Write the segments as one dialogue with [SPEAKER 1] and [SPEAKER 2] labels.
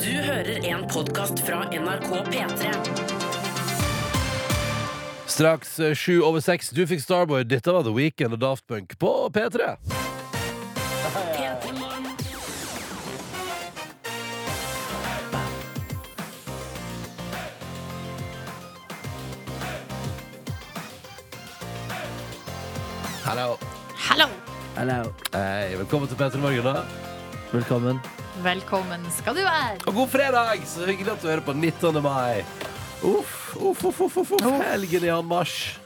[SPEAKER 1] Du hører en podkast fra NRK P3.
[SPEAKER 2] Straks eh, sju over seks. Du fikk Starboy. Dette var The Weekend og Daft Punk på P3. Hallo.
[SPEAKER 3] Hallo!
[SPEAKER 4] Hello.
[SPEAKER 2] Hei, velkommen til P3 Morgen. da
[SPEAKER 4] Velkommen.
[SPEAKER 3] Velkommen skal du være.
[SPEAKER 2] Og god fredag! Så hyggelig at du hører på 19. mai. Uff, uff, uff, uff, uff, uff. Helgen i anmarsj.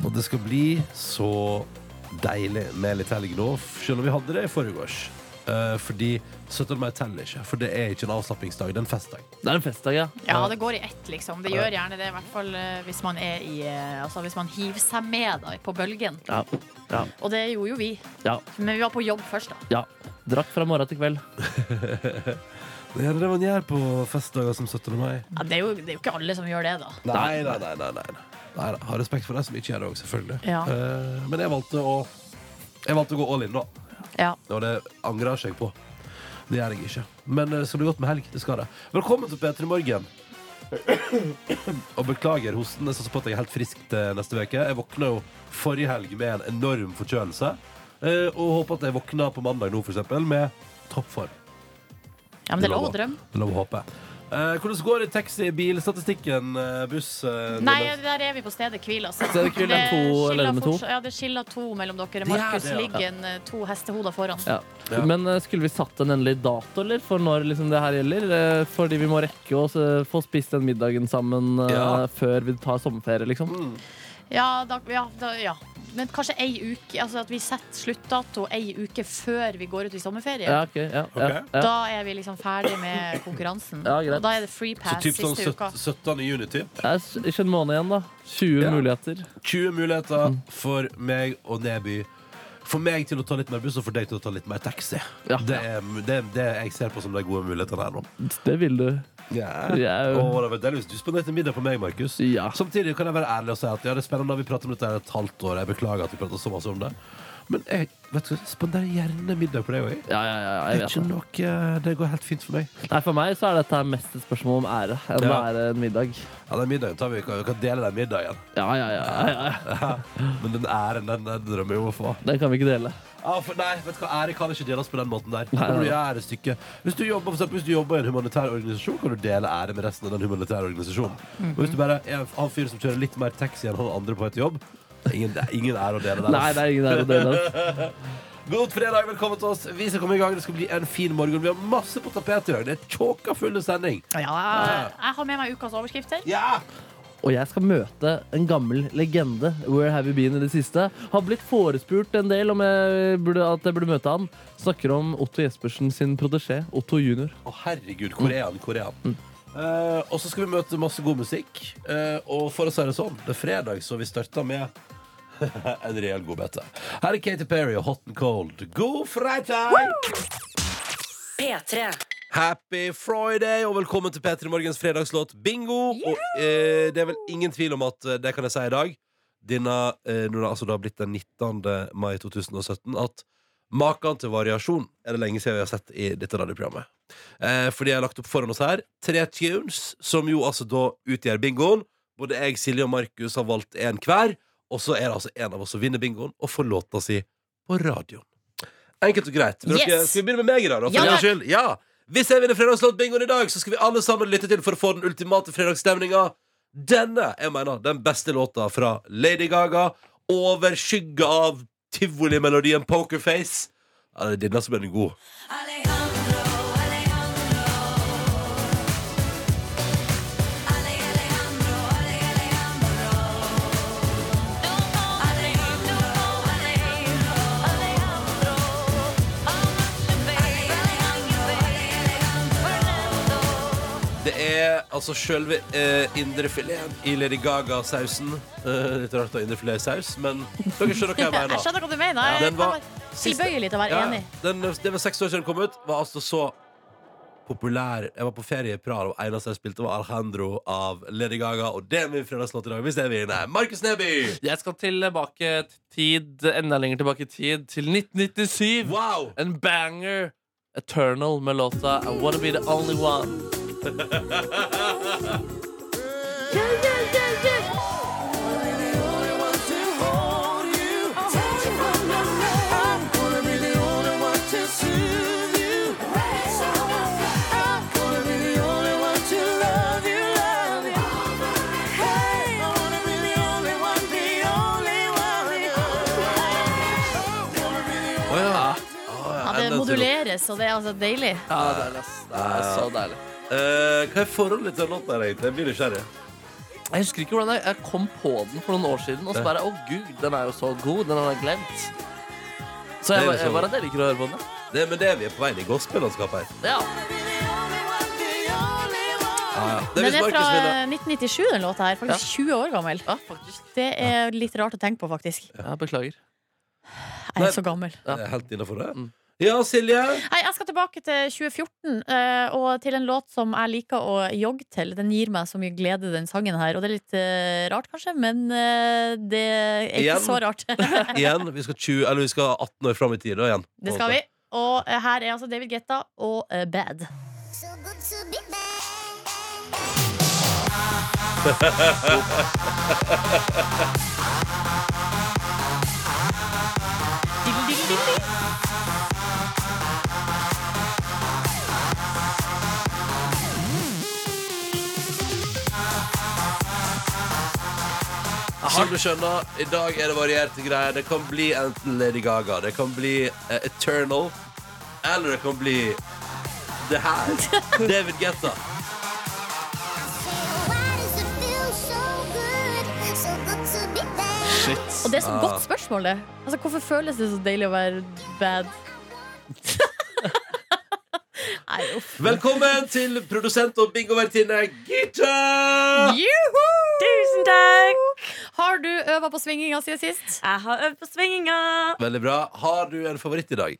[SPEAKER 2] Og det skal bli så deilig med litt helg nå, selv om vi hadde det i forgårs. Eh, fordi 17. mai teller ikke, for det er ikke en avslappingsdag, det er en festdag.
[SPEAKER 4] Det er en festdag, ja.
[SPEAKER 3] Ja, det går i ett, liksom. Det gjør gjerne det, i hvert fall eh, hvis man er i eh, Altså hvis man hiver seg med da, på bølgen.
[SPEAKER 4] Ja. Ja.
[SPEAKER 3] Og det gjorde jo vi.
[SPEAKER 4] ja.
[SPEAKER 3] Men vi var på jobb først, da.
[SPEAKER 4] ja. Drakk fra morgen til kveld.
[SPEAKER 2] Det er det man gjør på festdager som 17. mai.
[SPEAKER 3] Ja, det, er jo, det er jo ikke alle som gjør det, da.
[SPEAKER 2] Nei, nei, nei. nei, nei. nei da. Ha respekt for deg som ikke gjør det òg, selvfølgelig.
[SPEAKER 3] Ja.
[SPEAKER 2] Eh, men jeg valgte å Jeg valgte å gå all in, da.
[SPEAKER 3] Ja.
[SPEAKER 2] Og det angrer jeg ikke på. Det gjør jeg ikke. Men eh, det skal bli godt med helg. Det skal det. Velkommen til P3 Morgen. Og beklager hosten. Jeg satser på at jeg er helt frisk til neste uke. Jeg våkna jo forrige helg med en enorm forkjølelse. eh, Og håper at jeg våkner på mandag nå, for eksempel, med toppform.
[SPEAKER 3] ja, men det er lov å drømme.
[SPEAKER 2] Det er lov å håpe. Eh, hvordan går det i taxi, bilstatistikken, eh, buss? eh,
[SPEAKER 3] Nei,
[SPEAKER 2] nordmenn?
[SPEAKER 3] der er vi på stedet hvil, altså.
[SPEAKER 4] Stedet hvil, den to,
[SPEAKER 3] skiller
[SPEAKER 4] eller med to?
[SPEAKER 3] fortsatt- Ja, det skiller to mellom dere.
[SPEAKER 2] Det er
[SPEAKER 3] Markus
[SPEAKER 2] det, ja.
[SPEAKER 3] ligger en, eh, to hestehoder foran.
[SPEAKER 4] Ja.
[SPEAKER 2] Ja.
[SPEAKER 4] Men eh, skulle vi satt en endelig dato eller, for når liksom, det her gjelder? Eh, Fordi vi må rekke å eh, få spist den middagen sammen eh,
[SPEAKER 2] Ja. Mm.
[SPEAKER 4] før vi tar sommerferie. Liksom.
[SPEAKER 3] Ja, da, ja, da, ja. Men kanskje ei uke Altså at vi setter sluttdato ei uke før vi går ut i sommerferie.
[SPEAKER 4] Ja, ok, ja, ja,
[SPEAKER 2] Ok.
[SPEAKER 4] ja.
[SPEAKER 3] Da er vi liksom ferdig med konkurransen.
[SPEAKER 4] Ja, greit.
[SPEAKER 3] og da er det free
[SPEAKER 2] Så
[SPEAKER 3] pass
[SPEAKER 2] typ sånn
[SPEAKER 3] siste
[SPEAKER 2] sytt-
[SPEAKER 3] uka.
[SPEAKER 2] 17. juni, typ.
[SPEAKER 4] Det er s- ikke en måned igjen, da. 20
[SPEAKER 2] Ja.
[SPEAKER 4] muligheter.
[SPEAKER 2] 20 muligheter
[SPEAKER 4] Mm.
[SPEAKER 2] for meg og Neby. For meg til å ta litt mer buss, og for deg til å ta litt mer taxi.
[SPEAKER 4] Ja.
[SPEAKER 2] Det, er, det, det jeg ser på som de gode mulighetene her nå.
[SPEAKER 4] Det vil du.
[SPEAKER 2] Yeah.
[SPEAKER 4] Ja.
[SPEAKER 2] Og det var deilig hvis du spanderte middag på meg, Markus.
[SPEAKER 4] Ja.
[SPEAKER 2] Samtidig kan jeg være ærlig og si at ja, det er spennende vi prater om dette her et halvt år. Jeg beklager at vi prater så masse om det. Men jeg vet du, hva, spanderer gjerne middag på deg òg.
[SPEAKER 4] Ja, ja, ja, jeg vet
[SPEAKER 2] Ikke
[SPEAKER 4] det.
[SPEAKER 2] noe Det går helt fint for meg.
[SPEAKER 4] Nei, for meg så er dette her mest et spørsmål om ære enn det
[SPEAKER 2] Ja.
[SPEAKER 4] er en middag.
[SPEAKER 2] Ja, den middagen tar vi. Vi kan- vi kan dele den middagen.
[SPEAKER 4] Ja, ja, ja, ja, ja.
[SPEAKER 2] Men den æren, den, den drømmer jeg om å få.
[SPEAKER 4] Den kan vi ikke dele.
[SPEAKER 2] Ja, for nei, vet du hva, Ære kan ikke deles på den måten der.
[SPEAKER 4] Nei,
[SPEAKER 2] Da må du
[SPEAKER 4] nei, nei.
[SPEAKER 2] gjøre ærestykke. Hvis du, jobber, for eksempel, hvis du jobber i en humanitær organisasjon, kan du dele ære med resten av den humanitære organisasjonen.
[SPEAKER 4] Mhm.
[SPEAKER 2] Men hvis du bare er en han fyr som kjører litt mer taxi enn han andre på et jobb Ingen, det er ingen ære å dele der.
[SPEAKER 4] Nei, det er ingen ære å dele. ass.
[SPEAKER 2] God fredag, velkommen til oss. Vi skal komme i gang. Det skal bli en fin morgen. Vi har masse på tapetet i dag. Det er tjåka fulle sending.
[SPEAKER 3] Ja, jeg, jeg har med meg ukas overskrifter.
[SPEAKER 2] Ja!
[SPEAKER 4] Og jeg skal møte en gammel legende. Where have you been i det siste? Har blitt forespurt en del om jeg burde, at jeg burde møte han. Snakker om Otto Jespersen sin protesjé, Otto junior.
[SPEAKER 2] Å, herregud. Korean, Korean. Eh, og så skal vi møte masse god musikk. Eh, og for å si det sånn, det er fredag, så vi starter med en reell godbete. Her er Katy Perry og Hot and Cold. God fredag!
[SPEAKER 1] P3.
[SPEAKER 2] Happy Friday, og velkommen til P3 Morgens fredagslåt Bingo. Og eh, det er vel ingen tvil om at eh, det kan jeg si i dag, denne, eh, når det altså da har blitt den 19. mai 2017, at maken til variasjon er det lenge siden vi har sett i dette radioprogrammet. Eh, fordi jeg har lagt opp foran oss her tre tunes, som jo altså da utgjør bingoen. Både jeg, Silje og Markus har valgt en hver, og så er det altså en av oss som vinner bingoen og får låta si på radioen. Enkelt og greit. Men dere,
[SPEAKER 3] Yes.
[SPEAKER 2] skal vi begynne med meg i dag, da? For
[SPEAKER 3] Ja,
[SPEAKER 2] en gangs
[SPEAKER 3] takk.
[SPEAKER 2] skyld? Ja. Hvis jeg vinner fredagslåtbingoen i dag, så skal vi alle sammen lytte til for å få den ultimate fredagsstemninga. Denne jeg mener, den beste låta fra Lady Gaga, overskygga av tivolimelodien Pokerface. Ja, det er denne som er den gode. Det er altså sjølve eh, indrefileten i Lady Gaga-sausen. Eh, litt rart å ha indrefilet i saus, men dere skjønner hva jeg mener.
[SPEAKER 3] Jeg skjønner hva du mener.
[SPEAKER 2] Ja,
[SPEAKER 3] Jeg
[SPEAKER 2] den
[SPEAKER 3] kan
[SPEAKER 2] var-
[SPEAKER 3] være
[SPEAKER 2] Siste-
[SPEAKER 3] tilbøyelig til å være
[SPEAKER 2] Ja,
[SPEAKER 3] enig.
[SPEAKER 2] Den, det var seks år siden den kom ut. Var altså så populær. Jeg var på ferie i Praha, og eneste jeg spilte, var Alejandro av Lady Gaga. Og det er min fredagslåt i dag, hvis jeg vinner. Markus Neby!
[SPEAKER 5] Jeg skal tilbake i tid, enda lenger tilbake i tid, til 1997.
[SPEAKER 2] Wow!
[SPEAKER 5] En banger
[SPEAKER 4] Eternal med låta I Wanna Be The Only One.
[SPEAKER 2] Å Ah, ja.
[SPEAKER 3] Ja, det moduleres, og det er altså deilig.
[SPEAKER 4] Ja, det er, ass. Det er så deilig.
[SPEAKER 2] Eh, hva er forholdet til den låta her, egentlig? Jeg blir nysgjerrig.
[SPEAKER 4] Jeg husker ikke hvordan jeg, jeg kom på den for noen år siden. Og så bare, å gud, den er jo så god. Den har jeg glemt. Så jeg,
[SPEAKER 2] Det er
[SPEAKER 4] bare-
[SPEAKER 2] liksom-
[SPEAKER 4] jeg bare dere liker å høre på den.
[SPEAKER 2] Det er med det vi er på vei inn i gospellandskapet her.
[SPEAKER 4] Ja.
[SPEAKER 2] Ah, Det er
[SPEAKER 3] Den
[SPEAKER 2] hvis
[SPEAKER 3] er fra
[SPEAKER 2] Markus ville
[SPEAKER 3] eh, 1997, den låta her. Faktisk 20 år gammel.
[SPEAKER 4] ja, faktisk.
[SPEAKER 3] Det er litt rart å tenke på, faktisk.
[SPEAKER 4] Ja, beklager.
[SPEAKER 3] Jeg
[SPEAKER 2] Nei.
[SPEAKER 3] er så gammel.
[SPEAKER 4] Ja.
[SPEAKER 2] Det er Helt innafor det.
[SPEAKER 4] Mm.
[SPEAKER 2] Ja, Silje.
[SPEAKER 3] Nei, jeg skal tilbake til 2014 eh, og til en låt som jeg liker å jogge til. Den gir meg så mye glede, den sangen her. Og det er litt eh, rart, kanskje, men eh, det er ikke
[SPEAKER 2] Igjen.
[SPEAKER 3] så rart.
[SPEAKER 2] Igjen. Vi skal, 20, eller vi skal 18 år fram i tid. da, igjen.
[SPEAKER 3] det skal vi. Og eh, her er altså David Guetta og eh, Bad.
[SPEAKER 5] So good to be back.
[SPEAKER 3] Diddle, diddle, diddle, diddle.
[SPEAKER 2] Som du skjønner, i dag er det varierte greier. Det kan bli enten Lady Gaga, det kan bli eh, Eternal, eller det kan bli det her. David Guetta.
[SPEAKER 5] Why does it feel so good? So good to be back.
[SPEAKER 4] Shit.
[SPEAKER 3] Og det er så
[SPEAKER 2] Ah.
[SPEAKER 3] godt spørsmål, det. Altså, hvorfor føles det så deilig å være bad? Nei, uff.
[SPEAKER 2] Velkommen til produsent og bingovertinne Gita!
[SPEAKER 3] Juhu!
[SPEAKER 6] Tusen takk!
[SPEAKER 3] Har du øva på svinginga siden sist?
[SPEAKER 6] Jeg har øvd på svinginga.
[SPEAKER 2] Veldig bra. Har du en favoritt i dag?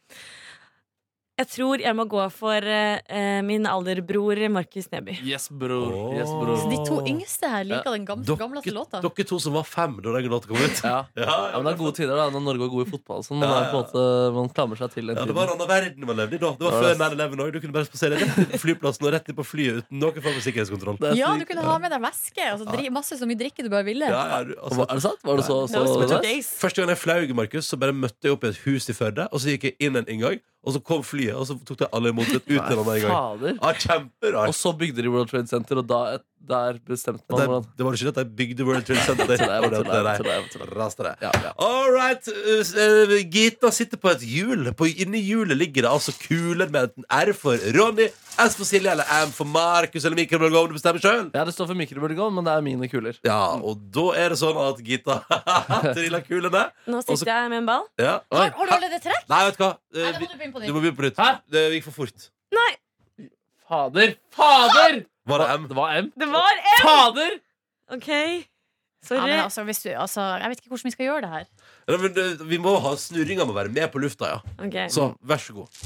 [SPEAKER 6] Jeg tror jeg må gå for eh, min alderbror Markus Neby.
[SPEAKER 4] Yes, bror.
[SPEAKER 2] Åh.
[SPEAKER 4] Yes, bror.
[SPEAKER 3] De to yngste her liker den gamle, gamleste låta.
[SPEAKER 2] dere to som var fem da den låta kom ut.
[SPEAKER 4] Ja.
[SPEAKER 2] Ja,
[SPEAKER 4] ja, men det er gode tider da, når Norge er god i fotball. Sånn. Man,
[SPEAKER 2] Ja, ja.
[SPEAKER 4] er på en måte, man klamrer seg til den
[SPEAKER 2] Ja, det
[SPEAKER 4] tiden.
[SPEAKER 2] var en annen verden man levde i da. Det var
[SPEAKER 4] Ja,
[SPEAKER 2] før
[SPEAKER 4] det-
[SPEAKER 2] 9-11 òg. Du kunne bare spasere rett inn på flyplassen og rett inn på flyet uten noen form for sikkerhetskontroll.
[SPEAKER 4] Det er
[SPEAKER 3] Ja,
[SPEAKER 4] sykt.
[SPEAKER 3] du kunne ha med deg væske. Altså, dri, masse så mye drikke du bare ville.
[SPEAKER 2] Ja, ja, du, altså,
[SPEAKER 4] Hva- Er det sant? Var det så, så,
[SPEAKER 6] Those were the
[SPEAKER 4] nice?
[SPEAKER 6] days.
[SPEAKER 2] Første gang jeg flaug, Markus, så bare møtte jeg opp i et hus i Førde. Og så gikk jeg inn en inngang, og så kom flyet, og så tok de alle imot et ut en annen inngang.
[SPEAKER 4] Fader.
[SPEAKER 2] Ja,
[SPEAKER 4] Og
[SPEAKER 2] kjemperart.
[SPEAKER 4] så bygde de World Trade Center, og da, der bestemte man
[SPEAKER 2] Det,
[SPEAKER 4] hvordan
[SPEAKER 2] det var ikke det at de bygde World Trade Center.
[SPEAKER 4] Så det er- så det
[SPEAKER 2] Det
[SPEAKER 4] er-
[SPEAKER 2] er-
[SPEAKER 4] så det er- så det er-
[SPEAKER 2] Raste det.
[SPEAKER 4] Ja, ja.
[SPEAKER 2] All right. eh, Gita sitter på et hjul. På, inni hjulet ligger det altså kuler med enten R for Ronny, S for Silje eller M for Markus eller Mikael Blomgård. Du bestemmer sjøl.
[SPEAKER 4] Ja, det står for mikrobølgeovn, men det er mine kuler.
[SPEAKER 2] Ja, og da er det sånn at Gita triller kulene.
[SPEAKER 6] Nå
[SPEAKER 2] Også-
[SPEAKER 6] sitter jeg med en ball.
[SPEAKER 2] Ja.
[SPEAKER 3] Har, har du allerede trekk?
[SPEAKER 2] Nei, vet du hva. Eh,
[SPEAKER 3] Nei, da
[SPEAKER 2] vi-
[SPEAKER 3] må du begynne på
[SPEAKER 2] Du
[SPEAKER 3] nytt.
[SPEAKER 2] må begynne på nytt.
[SPEAKER 4] Hæ?
[SPEAKER 2] Det gikk for fort.
[SPEAKER 6] Nei,
[SPEAKER 4] Fader! Fader!
[SPEAKER 2] Var det M?
[SPEAKER 4] Det var M.
[SPEAKER 6] det var en!
[SPEAKER 4] Fader!
[SPEAKER 6] OK.
[SPEAKER 3] Ja,
[SPEAKER 6] Sorry.
[SPEAKER 3] men altså, hvis du, altså, jeg vet ikke hvordan vi skal gjøre det her.
[SPEAKER 2] Ja, men det, vi må ha snurringa med å være med på lufta, ja.
[SPEAKER 6] Ok.
[SPEAKER 2] Så vær så god.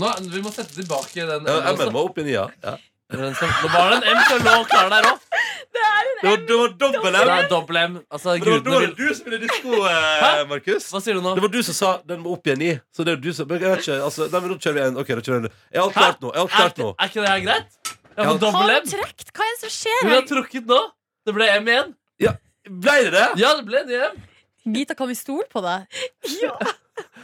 [SPEAKER 4] Nå, vi må sette tilbake den
[SPEAKER 2] Ja,
[SPEAKER 4] M-en
[SPEAKER 2] MN
[SPEAKER 4] også.
[SPEAKER 2] var opp i nia. Ja.
[SPEAKER 4] Den som- Det var en M som lå klar der òg.
[SPEAKER 2] Det var, det var dobbel
[SPEAKER 4] Det
[SPEAKER 2] M.
[SPEAKER 4] er dobbel M. Altså,
[SPEAKER 2] Men Det var, det
[SPEAKER 4] gudene
[SPEAKER 2] var
[SPEAKER 4] vil
[SPEAKER 2] du som ville disko, eh,
[SPEAKER 4] Hæ?
[SPEAKER 2] Markus.
[SPEAKER 4] Hva sier du nå?
[SPEAKER 2] Det var du som sa 'den må opp igjen i'. Så det er du som men Jeg vet ikke, altså Nei, men nå kjører vi en. Ok, da kjører vi en. Er alt
[SPEAKER 4] Hæ?
[SPEAKER 2] klart nå? Er alt
[SPEAKER 4] Er,
[SPEAKER 2] klart nå?
[SPEAKER 4] er ikke det her greit?
[SPEAKER 2] Ja.
[SPEAKER 4] Jeg får dobbel
[SPEAKER 3] Har
[SPEAKER 4] M.
[SPEAKER 3] du trukket? Hva er det som skjer
[SPEAKER 4] Hun har
[SPEAKER 3] her?
[SPEAKER 4] trukket nå. Det ble M igjen.
[SPEAKER 2] Ble det det?
[SPEAKER 4] Ja, det ble det M.
[SPEAKER 3] Gita, kan vi stole på deg?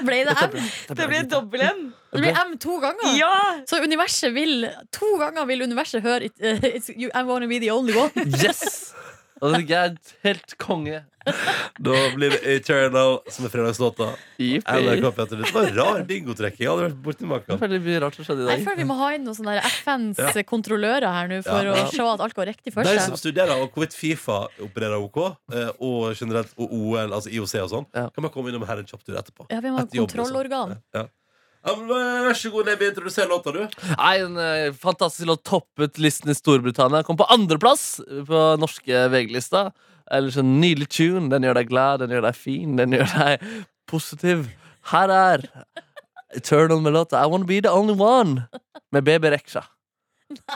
[SPEAKER 3] Ble det M?
[SPEAKER 6] Det ble dobbel M.
[SPEAKER 3] Det ble M to ganger?
[SPEAKER 6] Ja!
[SPEAKER 3] Så universet vil To ganger vil universet høre it, eh, it's, you, I'm gonna be the only one.
[SPEAKER 4] Yes! Og det er helt konge.
[SPEAKER 2] Da blir det 'Eternal' som er fredagslåta. Eller
[SPEAKER 4] Yippee.
[SPEAKER 2] hva heter det? Det var rar bingotrekking. Jeg hadde vært borti
[SPEAKER 4] Det
[SPEAKER 2] maken.
[SPEAKER 4] var veldig mye rart som skjedde i
[SPEAKER 3] Jeg
[SPEAKER 4] dag.
[SPEAKER 3] føler vi må ha inn noen sånne der FNs kontrollører her nå for
[SPEAKER 2] Ja. liksom
[SPEAKER 3] å se at alt går riktig for
[SPEAKER 2] De som
[SPEAKER 3] seg.
[SPEAKER 2] studerer og hvorvidt Fifa opererer OK, eh, og generelt og OL, altså IOC og sånn,
[SPEAKER 4] Ja.
[SPEAKER 2] kan man komme innom her en kjapp tur etterpå.
[SPEAKER 3] Ja, vi må ha
[SPEAKER 2] Etter jobb, liksom.
[SPEAKER 3] kontrollorgan.
[SPEAKER 2] Ja. Ja, men, eh, vær så god, Neby. Introduser låta, du.
[SPEAKER 4] Nei, en eh, fantastisk låt toppet listen i Storbritannia. Kom på andreplass på norske VG-lista. Ellers en nydelig tune. Den gjør deg glad, den gjør deg fin, den gjør deg positiv. Her er Eternal med låta I Wanna Be The Only One med BB Reksha.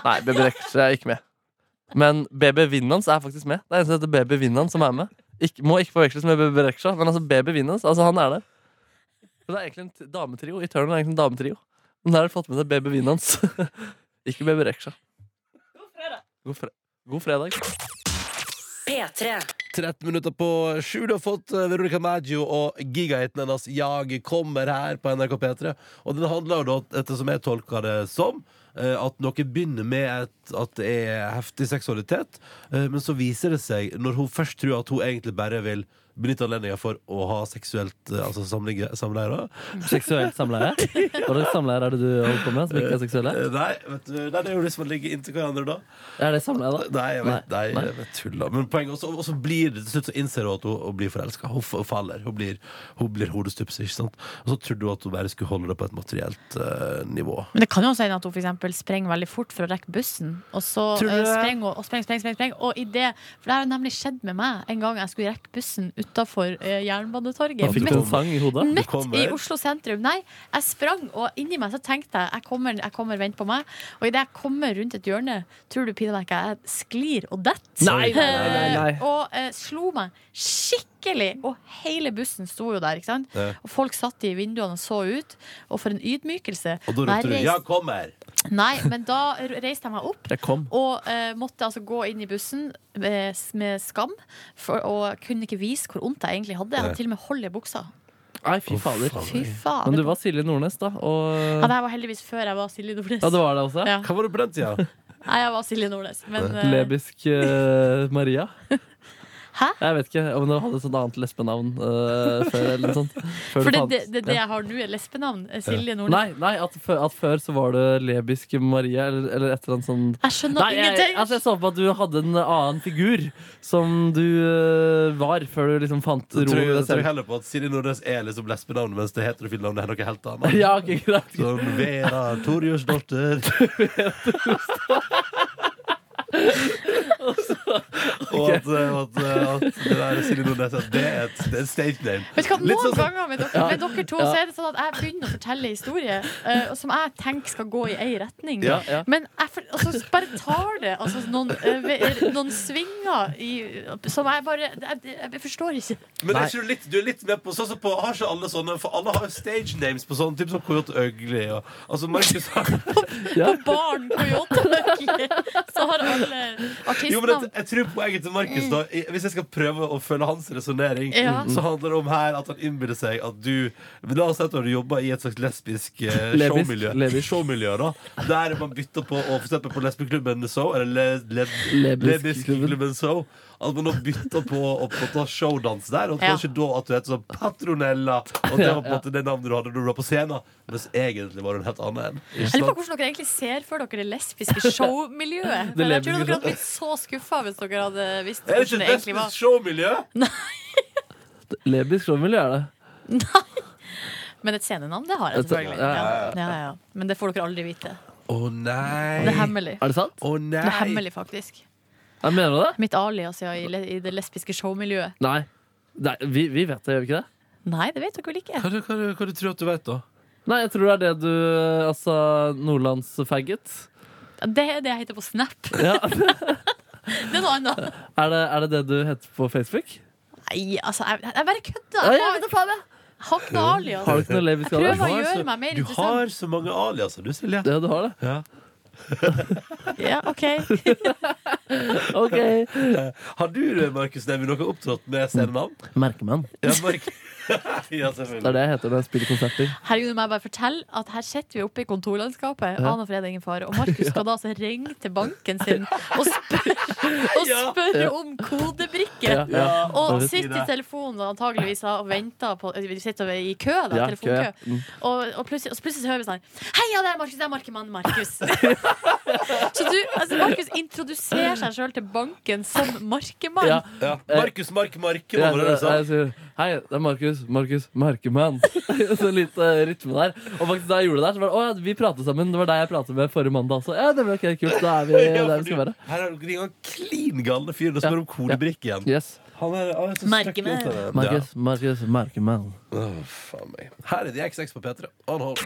[SPEAKER 4] Nei, BB Reksha er ikke med. Men BB Vinnans er faktisk med. Det er en som heter BB Vinnan som er med. Ikk- må ikke forveksles med BB Reksha, men altså BB Vinnans, altså han er der. Så det er egentlig en t- dametrio. Eternal er egentlig en dametrio.
[SPEAKER 7] Men der har du fått med deg babyvinen hans. Ikke baby Reksha. God fredag. God fredag.
[SPEAKER 1] P3.
[SPEAKER 2] 13 minutter på sju. Du har fått eh, Veronica Maggio og gigahiten hennes Jag kommer her på NRK P3. Og den handler jo da, ettersom jeg tolker det som, eh, at noe begynner med et, at det er heftig seksualitet, eh, men så viser det seg, når hun først tror at hun egentlig bare vil benytte anledningen for å ha seksuelt eh, altså samleie, samleie
[SPEAKER 4] Seksuelt samleie? Hva slags samleier er det du holder på med? Som ikke er seksuelle?
[SPEAKER 2] Eh, Nei, vet du, nei, det er jo det som ligger inntil hverandre da.
[SPEAKER 4] Er det samleie, da?
[SPEAKER 2] Nei, jeg vet, nei, jeg vet tulla. Men poenget også, og så blir det til slutt så innser hun at hun, hun blir forelska. Hun f- faller. Hun blir, hun blir hodestups, ikke sant. Og så trodde hun at hun bare skulle holde det på et materielt eh, nivå.
[SPEAKER 3] Men det kan jo også hende at hun for eksempel sprenger veldig fort for å rekke bussen. Og så
[SPEAKER 2] Tror du
[SPEAKER 3] eh,
[SPEAKER 2] det?
[SPEAKER 3] sprenger hun og sprenger, sprenger, sprenger. sprenger. Og i det, for det har jo nemlig skjedd med meg en gang jeg skulle rekke bussen utafor
[SPEAKER 4] Da
[SPEAKER 3] Jernbanetorget.
[SPEAKER 4] fikk du
[SPEAKER 3] Midt
[SPEAKER 4] en sang i hodet?
[SPEAKER 2] Du
[SPEAKER 3] Midt
[SPEAKER 2] kommer.
[SPEAKER 3] i Oslo sentrum. Nei, jeg sprang, og inni meg så tenkte jeg jeg kommer, jeg kommer vent på meg. Og idet jeg kommer rundt et hjørne, tror du pinadø ikke jeg sklir og detter.
[SPEAKER 4] Nei, nei, nei, nei.
[SPEAKER 3] Eh, Og eh, slo meg skikkelig. Og hele bussen sto jo der, ikke sant.
[SPEAKER 2] Ja.
[SPEAKER 3] Og folk satt i vinduene og så ut. Og for en ydmykelse.
[SPEAKER 2] Og da
[SPEAKER 3] Nei,
[SPEAKER 2] ropte du
[SPEAKER 3] reis-
[SPEAKER 2] 'ja, kom her'!
[SPEAKER 3] Nei, men da r- reiste jeg meg opp.
[SPEAKER 4] Jeg kom.
[SPEAKER 3] Og eh, måtte altså gå inn i bussen eh, s- med skam, for, og kunne ikke vise hvor vondt jeg egentlig hadde. Jeg hadde til og med hold i buksa.
[SPEAKER 4] Nei, fy fader.
[SPEAKER 3] Fy faen.
[SPEAKER 4] Men du var Silje Nordnes, da.
[SPEAKER 3] Ja,
[SPEAKER 4] Og
[SPEAKER 3] det her var heldigvis før jeg var Silje Nordnes.
[SPEAKER 4] Ja, det var det også?
[SPEAKER 3] Ja.
[SPEAKER 2] Hva var det på den tida?
[SPEAKER 3] Nei, jeg var Silje Nordnes. Men eh,
[SPEAKER 4] Lebisk eh, Maria?
[SPEAKER 3] Hæ?
[SPEAKER 4] Jeg vet ikke om hun hadde et sånt annet lesbenavn eh, før. eller noe sånt. Før
[SPEAKER 3] for
[SPEAKER 4] du
[SPEAKER 3] det,
[SPEAKER 4] fant-
[SPEAKER 3] det, det, det jeg har nå, er lesbenavn. eh, Silje Nordnes.
[SPEAKER 4] Nei, nei at, før, at før så var det lebisk Maria, eller, eller et eller annet sånn
[SPEAKER 3] Jeg skjønner
[SPEAKER 4] Nei, jeg,
[SPEAKER 3] ingenting!
[SPEAKER 4] altså jeg så på at du hadde en annen figur som du eh, var, før du liksom fant
[SPEAKER 2] Så
[SPEAKER 4] ro
[SPEAKER 2] tror
[SPEAKER 4] i
[SPEAKER 2] jeg, tror
[SPEAKER 4] deg
[SPEAKER 2] jeg
[SPEAKER 4] selv.
[SPEAKER 2] heller på at Silje Nordnes er liksom lesbenavnet, mens det heterofile navnet er noe helt annet.
[SPEAKER 4] Ja, ok, greit.
[SPEAKER 2] Som Vera Torjusdotter. Og at, eh, at, eh, at det der Silje Nordnes at det er et, det er et stage name.
[SPEAKER 3] Vet du hva,
[SPEAKER 2] Litt
[SPEAKER 3] Noen
[SPEAKER 2] sånn som-
[SPEAKER 3] ganger med dere, med dere to Så er det sånn at jeg begynner å fortelle historier eh, som jeg tenker skal gå i ei retning.
[SPEAKER 2] Ja,
[SPEAKER 4] ja.
[SPEAKER 3] Men jeg for, altså, bare tar det altså, noen, eh, ve- noen svinger i, som jeg bare jeg, jeg forstår ikke.
[SPEAKER 2] Men er ikke du, litt, du er litt med på sånn som på Har ikke alle sånne For alle har jo stage names på sånn typ som Coyote Ugly og Altså Markus har
[SPEAKER 3] På barn, coyote, så har alle
[SPEAKER 2] Jo, men jeg,
[SPEAKER 3] artistnavn.
[SPEAKER 2] jeg tror poenget til Markus, da i- hvis jeg skal prøve å følge hans resonnering,
[SPEAKER 3] Ja.
[SPEAKER 4] Mm.
[SPEAKER 2] så handler det om her at han innbiller seg at du men La oss si at du har jobba i et slags lesbisk eh,
[SPEAKER 4] Lebisk,
[SPEAKER 2] showmiljø,
[SPEAKER 4] lebisk.
[SPEAKER 2] showmiljø da, der man bytter på å for eksempel på lesbeklubben So, eller le, le,
[SPEAKER 4] Lebisk klubben.
[SPEAKER 2] Lebiskklubben So, at man da bytter på å på ta showdans der, og
[SPEAKER 3] Ja.
[SPEAKER 2] kanskje da at du heter sånn Patronella, og det var på en måte det navnet du hadde når du var på scenen, mens egentlig var du en helt annen en. Ikke
[SPEAKER 3] Jeg lurer
[SPEAKER 2] sant?
[SPEAKER 3] på hvordan dere egentlig ser for dere det lesbiske showmiljøet.
[SPEAKER 4] Det
[SPEAKER 3] Men jeg tror
[SPEAKER 4] lesbiske
[SPEAKER 3] dere hadde blitt så skuffa hvis dere hadde visst
[SPEAKER 2] Er det ikke
[SPEAKER 3] hvordan det
[SPEAKER 2] et lesbisk
[SPEAKER 3] egentlig var.
[SPEAKER 2] showmiljø?
[SPEAKER 4] Lebisk showmiljø er det.
[SPEAKER 3] Men et scenenavn, det har jeg selvfølgelig.
[SPEAKER 4] Ja, ja,
[SPEAKER 3] Ja, ja, ja. Men det får dere aldri vite.
[SPEAKER 2] Å nei!
[SPEAKER 3] Det er hemmelig.
[SPEAKER 4] Er det sant?
[SPEAKER 2] Å
[SPEAKER 3] Det er
[SPEAKER 2] nei!
[SPEAKER 3] hemmelig, faktisk.
[SPEAKER 4] Jeg mener du det?
[SPEAKER 3] Mitt alias ja, i, le- i det lesbiske showmiljøet.
[SPEAKER 4] Nei. Nei vi, vi vet det, gjør vi ikke det?
[SPEAKER 3] Nei, det vet dere vel ikke.
[SPEAKER 2] Hva, du- hva, du- hva du tror du at du vet, da?
[SPEAKER 4] Nei, jeg tror det er det du Altså, nordlandsfaggot.
[SPEAKER 3] Det er det jeg heter på Snap.
[SPEAKER 4] Ja.
[SPEAKER 3] Det er noe annet.
[SPEAKER 4] Er, det, er det det du heter på Facebook?
[SPEAKER 3] Nei, altså, jeg, jeg bare kødder. Jeg
[SPEAKER 4] Ja, jeg
[SPEAKER 3] har- jeg har ikke noe
[SPEAKER 4] Har du
[SPEAKER 3] alias.
[SPEAKER 4] ikke noe lebisk
[SPEAKER 3] Jeg prøver
[SPEAKER 4] alias?
[SPEAKER 3] altså. å gjøre meg mer
[SPEAKER 2] Du
[SPEAKER 3] interessant.
[SPEAKER 2] har så mange aliaser, du, Silje.
[SPEAKER 4] Ja, du har det?
[SPEAKER 2] Ja.
[SPEAKER 3] Ja, ok
[SPEAKER 4] Ok.
[SPEAKER 2] Har du, eh, Markus Neby, noe opptrådt
[SPEAKER 4] Mm.
[SPEAKER 2] med scenenavn?
[SPEAKER 4] Merkemann.
[SPEAKER 2] Ja, Mark. ja,
[SPEAKER 4] Det er
[SPEAKER 2] selvfølgelig.
[SPEAKER 4] det jeg heter når jeg spiller konserter.
[SPEAKER 3] Herregud, må jeg bare fortelle at her sitter vi oppe i kontorlandskapet.
[SPEAKER 4] Ja.
[SPEAKER 3] Ane og fred er ingen fare. Og Markus skal da altså ringe til banken sin og spørre, og
[SPEAKER 2] Ja.
[SPEAKER 3] spørre om kodebrikke.
[SPEAKER 4] Ja, ja.
[SPEAKER 3] Og
[SPEAKER 4] det er
[SPEAKER 3] sitter i telefonen da, antageligvis da, og venter på Vi sitter i kø, da.
[SPEAKER 4] Ja,
[SPEAKER 3] telefonkø.
[SPEAKER 4] kø, ja. Mm.
[SPEAKER 3] Og, og, plutselig, og så plutselig så hører vi sånn Heia, det er Markus! Det er Markemann Markus. så du, altså Markus introduserer seg sjøl til banken som Markemann.
[SPEAKER 4] Ja,
[SPEAKER 2] Ja. Markus Mark Marke,
[SPEAKER 4] eh, ja, eh,
[SPEAKER 2] var det du sa?
[SPEAKER 4] jeg sier Hei, det er Markus. Markus Merkemann. så litt eh, rytme der. Og faktisk da jeg gjorde det der, så var det Å ja, vi pratet sammen. Det var deg jeg pratet med forrige mandag også. Ja, det ble ok, kult. Da er vi
[SPEAKER 2] Ja,
[SPEAKER 4] der
[SPEAKER 2] for
[SPEAKER 4] vi skal
[SPEAKER 2] du-
[SPEAKER 4] være.
[SPEAKER 2] Her er det en klin galne fyr som spør om kodebrikke igjen.
[SPEAKER 4] Yes.
[SPEAKER 2] Han er, han er så
[SPEAKER 3] Merke
[SPEAKER 2] støkk
[SPEAKER 3] meg.
[SPEAKER 2] ut av det.
[SPEAKER 4] Markus Markus Merkemann.
[SPEAKER 2] Ja. Åh, faen meg. Her er de X6 på P3. On hold.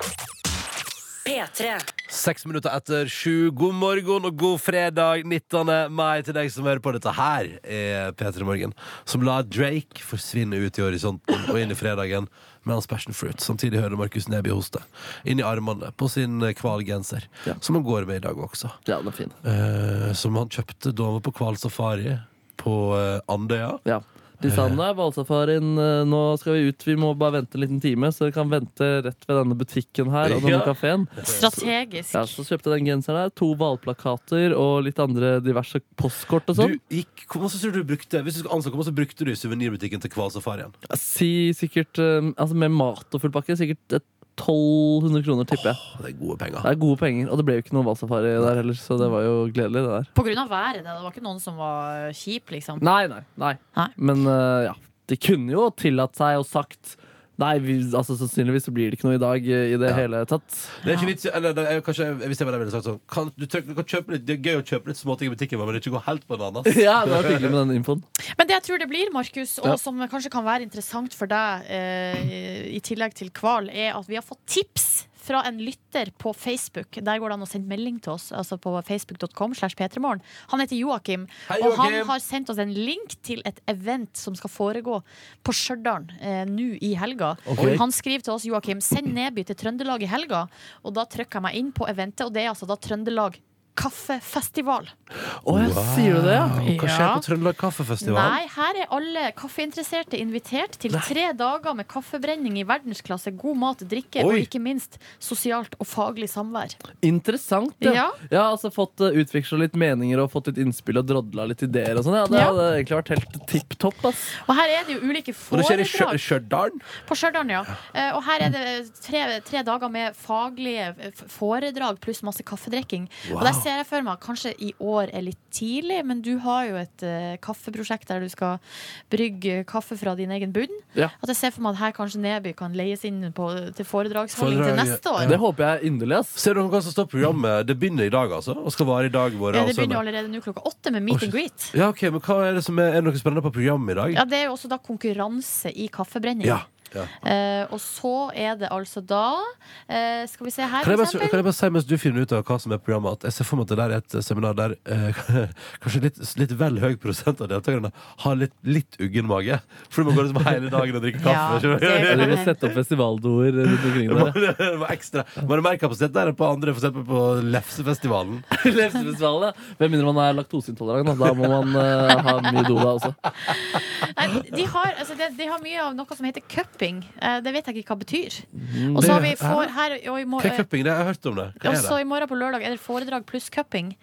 [SPEAKER 1] P3.
[SPEAKER 2] Seks minutter etter sju. God morgen og god fredag 19. mai til deg som hører på. Dette her er P3 Morgen, som lar Drake forsvinne ut i horisonten og inn i fredagen med hans passion fruit. Samtidig hører Markus Neby hoste inn i armene på sin eh, hvalgenser,
[SPEAKER 4] Ja.
[SPEAKER 2] som han går med i dag også.
[SPEAKER 4] Ja, den er fin.
[SPEAKER 2] Eh, som han kjøpte da han var på hvalsafari på eh, Andøya.
[SPEAKER 4] Ja. De
[SPEAKER 2] Eh.
[SPEAKER 4] sa nei, hvalsafarien, eh, nå skal vi ut, vi må bare vente en liten time, så dere kan vente rett ved denne butikken her og denne
[SPEAKER 2] Ja.
[SPEAKER 4] kafeen.
[SPEAKER 3] Strategisk.
[SPEAKER 4] Ja, så kjøpte jeg den genseren her, to hvalplakater og litt andre diverse postkort og sånn.
[SPEAKER 2] Du gikk, hvor masse tror du du brukte Hvis du skulle ansøke, hvor masse brukte du i suvenirbutikken til hvalsafarien?
[SPEAKER 4] Si sikkert, eh, altså med mat og full pakke, sikkert eh, 1200 kroner, tipper jeg.
[SPEAKER 2] Åh, det er gode penger.
[SPEAKER 4] Det er gode penger, og det ble jo ikke noe hvalsafari der heller, så det var jo gledelig, det der.
[SPEAKER 3] På grunn av været. Det var ikke noen som var kjip, liksom.
[SPEAKER 4] Nei, nei, nei.
[SPEAKER 3] Nei.
[SPEAKER 4] Men eh, ja, de kunne jo tillatt seg og sagt Nei, vi, altså sannsynligvis så blir det ikke noe i dag eh, i det hele tatt.
[SPEAKER 2] Det er ikke vits i- eller, det er, kanskje, Hvis jeg var der, ville jeg sagt sånn kan, du, trenger- du kan kjøpe litt, Det er gøy å kjøpe litt småting i butikken, men ikke gå helt bananas.
[SPEAKER 4] Ja, det var hyggelig med den infoen.
[SPEAKER 3] Men det jeg tror det blir, Markus, og
[SPEAKER 4] Ja.
[SPEAKER 3] som kanskje kan være interessant for deg, eh, i tillegg til hval, er at vi har fått tips fra en lytter på Facebook. Der går det an å sende melding til oss, altså på facebook.com slash p3morgen. Han heter Joakim,
[SPEAKER 2] Hei,
[SPEAKER 3] og han
[SPEAKER 2] Joakim!
[SPEAKER 3] har sendt oss en link til et event som skal foregå på Stjørdal eh, nå i helga.
[SPEAKER 4] Ok.
[SPEAKER 3] Han skriver til oss, Joakim, send Neby til Trøndelag i helga. Og da trykker jeg meg inn på eventet, og det er altså da Trøndelag kaffefestival.
[SPEAKER 4] Å, jeg sier du det, ja?
[SPEAKER 2] Hva skjer på Trøndelag Kaffefestival?
[SPEAKER 3] Nei, her er alle kaffeinteresserte invitert til tre dager med kaffebrenning i verdensklasse, god mat, drikke
[SPEAKER 2] Oi.
[SPEAKER 3] og ikke minst sosialt og faglig samvær.
[SPEAKER 4] Interessant.
[SPEAKER 3] Ja.
[SPEAKER 4] Jeg har altså fått eh, utveksla litt meninger og fått litt innspill og drodla litt ideer. og sånn. Ja, det
[SPEAKER 3] Ja.
[SPEAKER 4] hadde egentlig vært helt tipp topp. ass.
[SPEAKER 3] Og her er det jo ulike
[SPEAKER 2] Og det skjer i Mm. Stjø-
[SPEAKER 3] foredrag
[SPEAKER 2] Stjørdal?
[SPEAKER 3] på Stjørdal, ja. Eh, Og her er det tre, tre dager med faglige eh, f- foredrag pluss masse kaffedrikking.
[SPEAKER 2] Wow.
[SPEAKER 3] Og der ser jeg for meg at kanskje i år er litt tidlig, men du har jo et eh, kaffeprosjekt der du skal brygge kaffe fra din egen bunn.
[SPEAKER 4] Ja.
[SPEAKER 3] At jeg ser for meg at her kanskje Neby kan leies inn på, til foredragsholdning
[SPEAKER 2] Foredrag,
[SPEAKER 3] til neste år.
[SPEAKER 4] Det håper jeg inderlig. ass.
[SPEAKER 2] Ser dere hva som står på programmet? Det begynner i dag, altså? Og skal vare i dag, vår
[SPEAKER 3] Ja,
[SPEAKER 2] og
[SPEAKER 3] det begynner jo
[SPEAKER 2] søndag?
[SPEAKER 3] allerede nå klokka åtte med meet and greet.
[SPEAKER 2] Ja, ok, men hva Er det som er, er det noe spennende på programmet i dag?
[SPEAKER 3] Ja, Det er jo også da konkurranse i kaffebrenning.
[SPEAKER 2] Ja. Ja.
[SPEAKER 3] Eh, og så er det altså da eh, Skal vi se her,
[SPEAKER 2] Kan jeg,
[SPEAKER 3] for
[SPEAKER 2] bare, kan
[SPEAKER 3] eksempel.
[SPEAKER 2] jeg bare si mens du finner ut av hva som er programmet, at jeg ser for meg at det der er et seminar der eh, kanskje litt, litt vel høy prosent av deltakerne har litt, litt uggen mage. For du må gå liksom hele dagen og drikke
[SPEAKER 3] Ja,
[SPEAKER 2] kaffe. skjønner du?
[SPEAKER 3] det-
[SPEAKER 4] Eller vi setter opp festivaldoer rundt omkring
[SPEAKER 2] Det
[SPEAKER 4] der.
[SPEAKER 2] var- det var ekstra. Var det mer kapasitet der enn på andre, for eksempel på Lefsefestivalen?
[SPEAKER 4] Lefsefestivalen, ja. Med mindre man er laktoseintolerant. Da Da må man eh, ha mye doda også.
[SPEAKER 3] Nei, de, har, altså, de, de har mye av noe som heter cupping. Eh, det vet jeg ikke hva betyr. Og så har vi
[SPEAKER 2] Mm, det-
[SPEAKER 3] får, her og i, mor-
[SPEAKER 2] Hva er cupping? Det har jeg hørt om det. Hva
[SPEAKER 3] og
[SPEAKER 2] er
[SPEAKER 3] så
[SPEAKER 2] det?
[SPEAKER 3] i morgen på lørdag er det foredrag pluss cupping.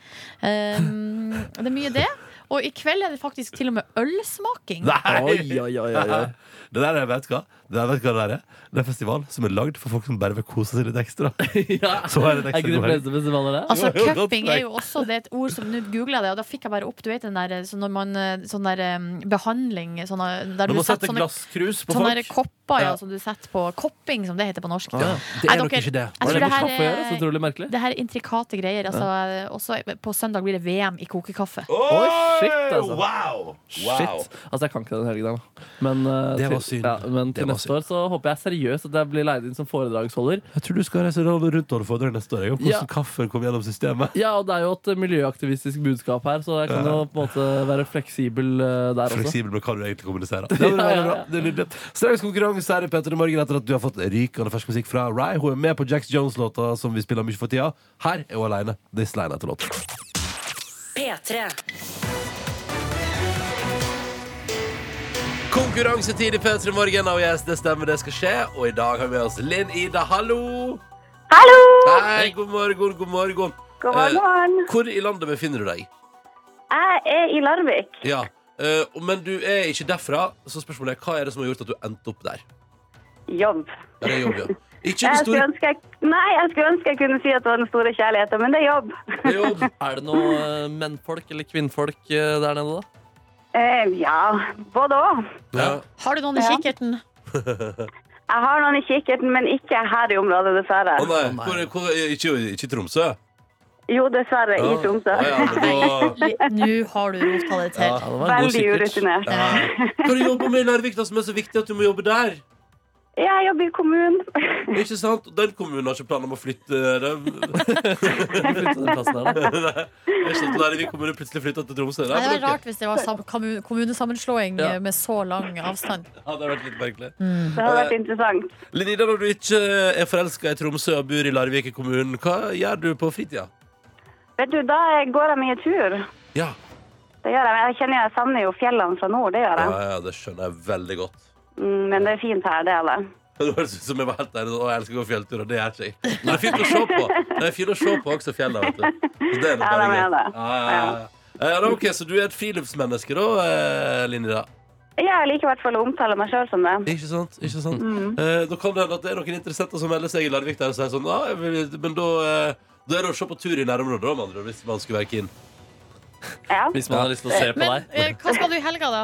[SPEAKER 3] Eh, det er mye det. Og i kveld er det faktisk til og med ølsmaking.
[SPEAKER 4] Oi,
[SPEAKER 2] Nei!
[SPEAKER 4] oi, oi, oi, oi.
[SPEAKER 2] Det der er, vet du hva? Det der, vet du hva det der er? Det er en festival som er lagd for folk som bare vil kose seg litt ekstra.
[SPEAKER 4] Ja.
[SPEAKER 2] Så er det
[SPEAKER 4] Er
[SPEAKER 2] et
[SPEAKER 4] ikke de
[SPEAKER 2] ekstra
[SPEAKER 4] fleste festivaler det?
[SPEAKER 3] Altså,
[SPEAKER 2] Det var jo
[SPEAKER 3] cupping
[SPEAKER 2] godt
[SPEAKER 3] er jo også det er et ord som Nå googla jeg det, og da fikk jeg bare opp Du vet den der, eh, sånn når man, eh, sånn der eh, behandling sånn, eh, Der
[SPEAKER 2] Når
[SPEAKER 3] du
[SPEAKER 2] man
[SPEAKER 3] setter
[SPEAKER 2] setter
[SPEAKER 3] sånne,
[SPEAKER 2] glasskrus på
[SPEAKER 3] sånne
[SPEAKER 2] folk
[SPEAKER 3] der kopper ja,
[SPEAKER 2] Ja.
[SPEAKER 3] som du setter på Kopping, som det heter på norsk.
[SPEAKER 2] ja. Det
[SPEAKER 3] Nei,
[SPEAKER 2] er nok
[SPEAKER 3] dere-
[SPEAKER 2] ikke det.
[SPEAKER 3] Jeg
[SPEAKER 4] Har
[SPEAKER 3] tror
[SPEAKER 4] det
[SPEAKER 3] det
[SPEAKER 4] med
[SPEAKER 3] her
[SPEAKER 4] kaffe å gjøre? Så
[SPEAKER 3] er
[SPEAKER 4] utrolig merkelig.
[SPEAKER 3] det her er intrikate greier. Altså, eh, Også på søndag blir det VM i kokekaffe.
[SPEAKER 4] Oi, shit, altså.
[SPEAKER 2] Wow! wow.
[SPEAKER 4] Shit. Altså, jeg kan ikke den helgen, da. Men, eh,
[SPEAKER 2] Det var
[SPEAKER 4] til-
[SPEAKER 2] synd.
[SPEAKER 4] Ja, men
[SPEAKER 2] Det
[SPEAKER 4] til
[SPEAKER 2] var
[SPEAKER 4] neste år så håper jeg seriøst at jeg blir leid inn som foredragsholder.
[SPEAKER 2] Jeg tror du skal reise rundt og holde foredrag neste år. Jeg, om hvordan
[SPEAKER 4] Ja.
[SPEAKER 2] kaffen kom gjennom systemet.
[SPEAKER 4] Ja, og det er jo et miljøaktivistisk budskap her, så jeg kan jo på en måte være fleksibel eh, der også.
[SPEAKER 2] Fleksibel med hva du egentlig kommuniserer. Det er bra, det
[SPEAKER 4] Ja,
[SPEAKER 2] er
[SPEAKER 4] ja,
[SPEAKER 2] bra.
[SPEAKER 4] ja.
[SPEAKER 2] Det er nydelig. Straks konkurranse her i Petter i morgen etter at du har fått rykende fersk musikk fra Rye. Hun er med på Jax Jones-låta som vi spiller mye for tida. Her er hun aleine. This line etter låt.
[SPEAKER 1] P3.
[SPEAKER 2] Konkurransetid i Petter i morgen, og yes, det stemmer, det skal skje. Og i dag har vi med oss Linn Ida. Hallo!
[SPEAKER 8] Hallo!
[SPEAKER 2] Hei, god morgen, god morgen.
[SPEAKER 8] God morgen.
[SPEAKER 2] Hvor i landet befinner du deg?
[SPEAKER 8] Jeg er i Larvik.
[SPEAKER 2] Ja, eh, Men du er ikke derfra, så spørsmålet er hva er det som har gjort at du endte opp der?
[SPEAKER 8] Jobb.
[SPEAKER 2] Ja, det er jobb, ja. Ikke
[SPEAKER 8] Jeg
[SPEAKER 2] det
[SPEAKER 8] skulle
[SPEAKER 2] store
[SPEAKER 8] ønske jeg, nei, jeg skulle ønske jeg kunne si at det var den store kjærligheten, men det er jobb.
[SPEAKER 2] det er jobb.
[SPEAKER 4] Er det noe eh, mennfolk eller kvinnfolk eh, der nede, da?
[SPEAKER 8] Eh, ja, både òg.
[SPEAKER 2] Ja.
[SPEAKER 3] Har du noen i
[SPEAKER 8] Ja.
[SPEAKER 3] kikkerten?
[SPEAKER 8] Jeg har noen i kikkerten, men ikke her i området, dessverre.
[SPEAKER 2] Å nei, hvor, hvor, ikke, ikke i Tromsø?
[SPEAKER 8] Jo, dessverre, i Tromsø.
[SPEAKER 2] Å, Ah, ja, men da-
[SPEAKER 3] Li- Nå har du rota det til.
[SPEAKER 2] Ja.
[SPEAKER 4] Ja, det var en god
[SPEAKER 8] Veldig
[SPEAKER 4] kikkert.
[SPEAKER 8] urutinert.
[SPEAKER 2] ja. Hva er det du jobber med i Larvik da, som er så viktig at du må jobbe der?
[SPEAKER 8] Jeg jobber i kommunen.
[SPEAKER 2] Ikke sant? Den kommunen har ikke planer om å flytte eh, det.
[SPEAKER 4] Flytte den plassen her, da.
[SPEAKER 2] Det er sånn at Larvik kommune plutselig flytta til Tromsø. da,
[SPEAKER 3] Nei, det
[SPEAKER 2] men
[SPEAKER 3] var rart hvis det var sam kommun- kommunesammenslåing
[SPEAKER 4] Ja.
[SPEAKER 3] eh, med så lang avstand.
[SPEAKER 2] ok. Ja, det har vært litt merkelig.
[SPEAKER 8] Det hadde vært interessant.
[SPEAKER 2] Lenina, når du ikke er forelska i Tromsø og bor i Larvik kommune, hva gjør du på fritida?
[SPEAKER 8] Vet du, da går jeg mye tur.
[SPEAKER 2] Ja.
[SPEAKER 8] Det gjør jeg. Jeg kjenner jeg savner jo fjellene fra nord, det gjør
[SPEAKER 2] Ja,
[SPEAKER 8] jeg.
[SPEAKER 2] ja, det skjønner jeg veldig godt.
[SPEAKER 8] Mm, Men det er fint her, det er det.
[SPEAKER 2] Det høres ut som jeg var helt ærlig. Å, jeg elsker å gå fjelltur, og det gjør ikke jeg. Men det er fint å se på. Det er fint å se på også fjellene, vet du. Så det er
[SPEAKER 8] Ja,
[SPEAKER 2] bare
[SPEAKER 8] det er
[SPEAKER 2] gøy.
[SPEAKER 8] det.
[SPEAKER 2] Ja, ja, ja. Eh, Ja, da, ok, Så du er et friluftsmenneske, da, eh, Linda?
[SPEAKER 8] Jeg liker i hvert fall å omtale meg sjøl som det.
[SPEAKER 2] Ikke sant? ikke sant
[SPEAKER 8] Mm.
[SPEAKER 2] eh, Da kan det hende at det er noen interessenter som melder seg i Larvik der og sier sånn ah, jeg vil, Men da, eh, da er det å se på tur i nærområdet, da, med andre ord, hvis man skulle være keen.
[SPEAKER 8] Ja.
[SPEAKER 4] Hvis man har lyst til å se på
[SPEAKER 3] Men
[SPEAKER 4] deg.
[SPEAKER 3] eh, hva skal du i helga, da?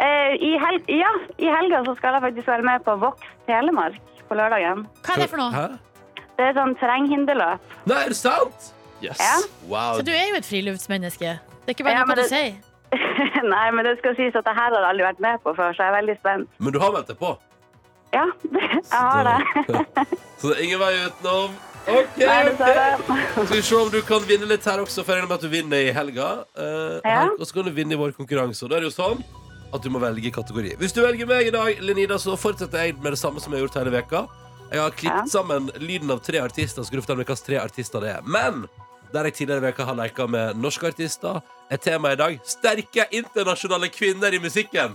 [SPEAKER 8] Eh, I hel ja, i helga så skal jeg faktisk være med på Vox Telemark på lørdagen.
[SPEAKER 3] Hva er det for noe?
[SPEAKER 2] Hæ?
[SPEAKER 8] Det er sånn terrenghinderløp.
[SPEAKER 2] Nei, er det sant?
[SPEAKER 4] Yes.
[SPEAKER 8] Ja.
[SPEAKER 2] Wow.
[SPEAKER 3] Så du er jo et friluftsmenneske. Det er ikke bare
[SPEAKER 8] Ja,
[SPEAKER 3] noe
[SPEAKER 8] men
[SPEAKER 3] du
[SPEAKER 8] det-
[SPEAKER 3] sier.
[SPEAKER 8] Nei, men det skal sies at det her har jeg aldri vært med på før, så jeg er veldig spent.
[SPEAKER 2] Men du har meldt deg på?
[SPEAKER 8] Ja, jeg har det.
[SPEAKER 2] Så det er ingen vei utenom. OK!
[SPEAKER 8] Nei,
[SPEAKER 2] ok.
[SPEAKER 8] dessverre.
[SPEAKER 2] Skal vi se om du kan vinne litt her også, for jeg regner med at du vinner i helga. Eh,
[SPEAKER 8] Ja.
[SPEAKER 2] her- Og så kan du vinne i vår konkurranse. Og da er det jo sånn at du må velge kategori. Hvis du velger meg i dag, Lenida, så fortsetter jeg med det samme som jeg har gjort hele veka Jeg har klippet
[SPEAKER 8] Ja.
[SPEAKER 2] sammen lyden av tre artister, så skal du fortelle meg hvilke tre artister det er. Men der jeg tidligere i veka har leka med norske artister, er temaet i dag sterke internasjonale kvinner i musikken.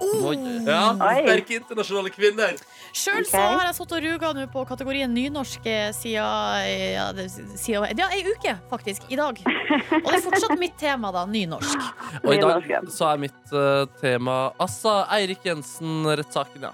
[SPEAKER 2] Ja,
[SPEAKER 8] Oi.
[SPEAKER 2] sterke internasjonale kvinner.
[SPEAKER 3] Sjøl så
[SPEAKER 8] Ok.
[SPEAKER 3] har jeg sittet og ruga nå på kategorien nynorsk eh, siden ja, det- siden- ja, ei uke, faktisk. I dag. Og det er fortsatt mitt tema, da. Nynorsk.
[SPEAKER 4] Og i dag
[SPEAKER 8] Nynorsk, ja.
[SPEAKER 4] så er mitt eh, tema Assa Eirik Jensen-rettssaken, ja.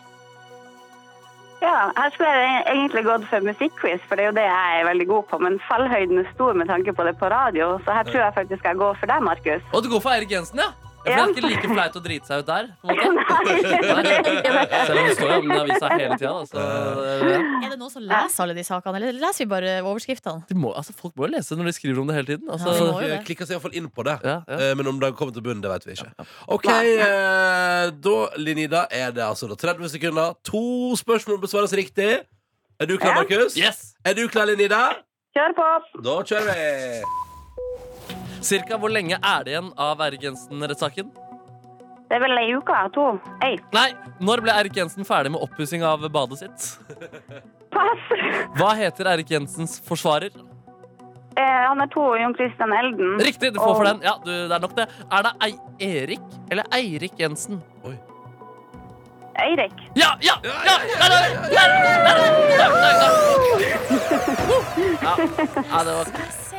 [SPEAKER 8] Ja, her skulle jeg e-, egentlig gått for musikkquiz, for det er jo det jeg er veldig god på. Men fallhøyden er stor med tanke på det på radio, så her tror jeg faktisk jeg går for deg, Markus.
[SPEAKER 4] Og du går for Eirik Jensen, ja? Ja, For
[SPEAKER 8] Ja.
[SPEAKER 4] Det er ikke like flaut å drite seg ut der. På en måte.
[SPEAKER 8] Nei.
[SPEAKER 4] Selv om det står jo om den avisa hele tida. Altså,
[SPEAKER 3] Er det noen som leser alle de sakene, eller leser vi bare overskriftene?
[SPEAKER 4] de må, altså, folk må jo lese når de skriver om det hele tiden.
[SPEAKER 3] Ja, de
[SPEAKER 4] Altså.
[SPEAKER 3] må jo
[SPEAKER 2] Vi
[SPEAKER 3] det.
[SPEAKER 2] klikker oss iallfall inn på det.
[SPEAKER 4] Ja, ja.
[SPEAKER 2] Eh, Men om det kommer til bunnen, det vet vi ikke. OK, eh, da, Linida, er det altså da 30 sekunder. To spørsmål besvares riktig. Er du klar,
[SPEAKER 8] Ja.
[SPEAKER 2] Markus?
[SPEAKER 4] Yes!
[SPEAKER 2] Er du klar, Linida?
[SPEAKER 8] Kjør på!
[SPEAKER 2] Da kjører vi.
[SPEAKER 4] Cirka hvor lenge er det igjen av Eirik Jensen-rettssaken?
[SPEAKER 8] Det er vel ei uke, to. Ei,
[SPEAKER 4] Nei, når ble Eirik Jensen ferdig med oppussing av badet sitt?
[SPEAKER 8] pass!
[SPEAKER 4] Hva heter Eirik Jensens forsvarer?
[SPEAKER 8] Eh, han er to, Jon Christian Elden.
[SPEAKER 4] Riktig, du får for den. Ja, du, det er nok det. Er det Ei Erik eller Eirik Jensen?
[SPEAKER 8] Eirik.
[SPEAKER 4] Ja, ja, ja! ja, ja, ja, ja, ja, ja, ja, ja det var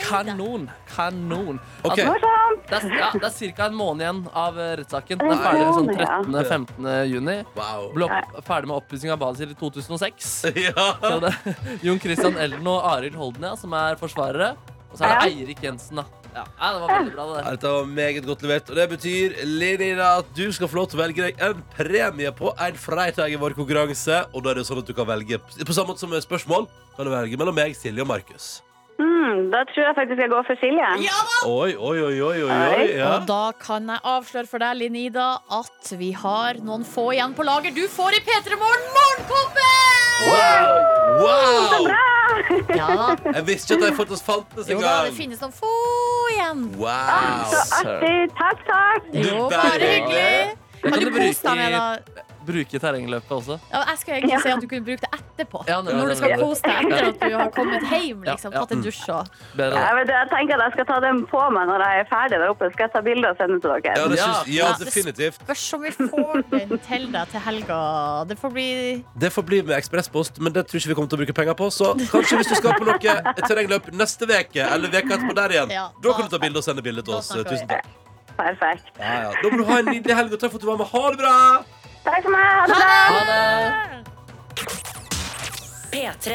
[SPEAKER 4] kanon. Kanon.
[SPEAKER 2] Ok.
[SPEAKER 4] Altså,
[SPEAKER 8] Morsomt!
[SPEAKER 4] det er, ja, det er cirka en måned igjen av eh, rettssaken. Den er ferdig sånn 13.-15. juni.
[SPEAKER 2] Wow.
[SPEAKER 4] Ble opp, ferdig med oppussing av badet sitt i 2006.
[SPEAKER 2] Ja.
[SPEAKER 4] Så det, Jon Christian Elden og Arild Holden, ja, som er forsvarere. Og så er det Eirik Jensen, da. Ja, ja, det var veldig bra, det der.
[SPEAKER 2] Dette var meget godt levert. Og det betyr Linida, at du skal få lov til å velge deg en premie på en fredag i vår konkurranse. Og da er det jo sånn at du kan velge På samme måte som med spørsmål kan du velge mellom meg, Silje og Markus.
[SPEAKER 8] Mm, da tror jeg faktisk jeg går for Silje.
[SPEAKER 2] Oi, oi, oi, oi, oi, oi.
[SPEAKER 8] Oi.
[SPEAKER 2] Ja.
[SPEAKER 3] Og da kan jeg avsløre for deg, Linida, at vi har noen få igjen på lager. Du får i P3 Morgen Morgenkoppen!
[SPEAKER 2] Wow! wow!
[SPEAKER 3] Ja da.
[SPEAKER 2] Jeg visste ikke at de faktisk fantes
[SPEAKER 3] Jo da, det
[SPEAKER 2] engang.
[SPEAKER 3] finnes Ah, noen få igjen.
[SPEAKER 8] Så
[SPEAKER 2] Wow.
[SPEAKER 8] artig. Takk, takk.
[SPEAKER 3] Jo,
[SPEAKER 2] Du
[SPEAKER 3] bare
[SPEAKER 2] bare-
[SPEAKER 3] hyggelig.
[SPEAKER 4] Du
[SPEAKER 3] Kan
[SPEAKER 4] kan
[SPEAKER 3] du
[SPEAKER 4] jo
[SPEAKER 3] kose deg
[SPEAKER 4] bruke
[SPEAKER 3] med
[SPEAKER 4] i-
[SPEAKER 3] det?
[SPEAKER 4] Bruke terrengløpet også.
[SPEAKER 3] Ja, jeg skulle egentlig si at du kunne bruke det etterpå.
[SPEAKER 4] Ja, nei,
[SPEAKER 3] Når
[SPEAKER 4] nei,
[SPEAKER 3] du skal
[SPEAKER 4] nei, nei.
[SPEAKER 3] kose deg etter at du har kommet hjem.
[SPEAKER 4] Ja,
[SPEAKER 3] Liksom,
[SPEAKER 4] ja. Mm.
[SPEAKER 3] tatt en dusj og
[SPEAKER 4] Bedre.
[SPEAKER 8] Jeg, vet, jeg tenker at jeg skal ta den på meg når jeg er ferdig der oppe. Skal jeg ta bilde og sende til
[SPEAKER 2] Ja,
[SPEAKER 8] dere?
[SPEAKER 2] det
[SPEAKER 4] Ja.
[SPEAKER 2] syns, ja,
[SPEAKER 3] Ja, det-
[SPEAKER 2] definitivt.
[SPEAKER 3] Spørs om vi får den til deg til helga. Det får bli
[SPEAKER 2] Det får bli med ekspresspost, men det tror ikke vi kommer til å bruke penger på. Så kanskje hvis du skal på noe terrengløp neste veke eller veka etterpå der igjen,
[SPEAKER 3] Ja,
[SPEAKER 2] da
[SPEAKER 3] da-
[SPEAKER 2] kan du ta bilde og sende bilde til
[SPEAKER 3] da
[SPEAKER 2] oss.
[SPEAKER 3] snakker vi.
[SPEAKER 2] Tusen takk.
[SPEAKER 8] Perfekt.
[SPEAKER 2] Ja, ja. Da må du ha en nydelig helg, og takk for at du var med. Ha det bra!
[SPEAKER 8] Takk for meg. Ha det bra.
[SPEAKER 1] P3.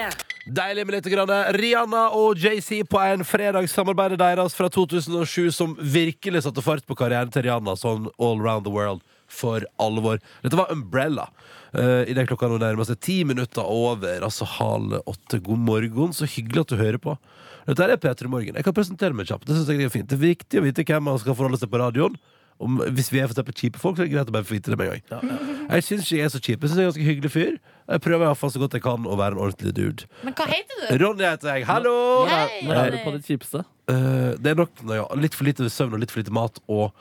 [SPEAKER 2] Deilig med litt. Grann. Rihanna og JC på en fredag. Samarbeidet deres fra 2007 som virkelig satte fart på karrieren til Rihanna sånn all round the world for alvor. Dette var Umbrella. Uh, Idet klokka nå nærmer seg ti minutter over, altså halv åtte. God morgen, så hyggelig at du hører på. Dette her er P3 Morgen. Jeg kan presentere meg kjapt. Det synes jeg er fint. Det er viktig å vite hvem man skal forholde seg på radioen. om, Hvis vi er for eksempel kjipe folk, så er det greit å bare få vite det med en gang. Jeg syns ikke jeg er så kjip. Jeg syns jeg er en ganske hyggelig fyr. Jeg prøver i hvert fall så godt jeg kan å være en ordentlig dude.
[SPEAKER 3] Men hva heter du?
[SPEAKER 2] Ronny heter jeg. Hallo!
[SPEAKER 4] Når er,
[SPEAKER 3] Hei!
[SPEAKER 4] når er du på ditt kjipeste?
[SPEAKER 2] Eh, det er nok når jeg har litt for lite søvn og litt for lite mat, og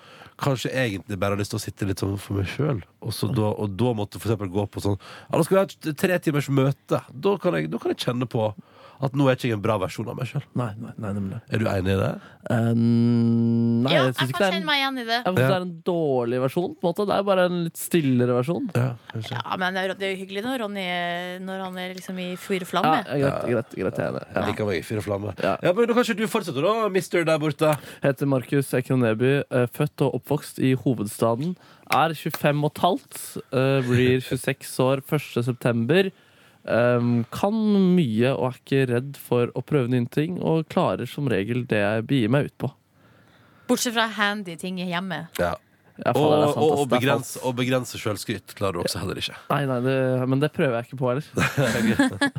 [SPEAKER 2] kanskje egentlig bare har lyst til å sitte litt sånn for meg sjøl. Og, så da- og da måtte for eksempel gå på sånn Ja, nå skal vi ha et tre timers møte. Da kan jeg, da kan jeg kjenne på at nå er ikke jeg en bra versjon av meg sjøl.
[SPEAKER 4] Nei, nei, nei, nemlig.
[SPEAKER 2] Er du enig i det?
[SPEAKER 4] Eh, nei,
[SPEAKER 3] Ja,
[SPEAKER 4] jeg
[SPEAKER 3] jeg
[SPEAKER 4] syns
[SPEAKER 3] kan
[SPEAKER 4] ikke det er
[SPEAKER 3] kjenne
[SPEAKER 4] en,
[SPEAKER 3] meg igjen i det.
[SPEAKER 4] jeg synes det er en dårlig versjon. På en måte. Det er bare en litt stillere versjon.
[SPEAKER 2] Ja, kanskje.
[SPEAKER 3] Ja, men det er det er jo hyggelig når Ronny når han er liksom i fyr og
[SPEAKER 4] Ja,
[SPEAKER 3] flamme.
[SPEAKER 4] greit, greit, greit, jeg er enig.
[SPEAKER 2] Jeg liker meg i fyr og flamme.
[SPEAKER 4] Ja.
[SPEAKER 2] Ja. men da kanskje du fortsetter, da, mister der borte.
[SPEAKER 4] Heter Markus Ekroneby, eh, født og oppvokst i hovedstaden. Er 25 og et halvt, eh, blir 26 år 1. september. Em, kan mye og er ikke redd for å prøve nye ting, og klarer som regel det jeg begir meg ut på.
[SPEAKER 3] Bortsett fra handy ting i hjemmet.
[SPEAKER 2] Ja.
[SPEAKER 4] Ja, faen, det er
[SPEAKER 2] Og,
[SPEAKER 4] sant,
[SPEAKER 2] og,
[SPEAKER 4] ass.
[SPEAKER 2] og
[SPEAKER 4] Det er
[SPEAKER 2] begrense, og begrense sjølskryt klarer du også heller ikke.
[SPEAKER 4] sant. Nei, nei, det, men det prøver jeg ikke på heller.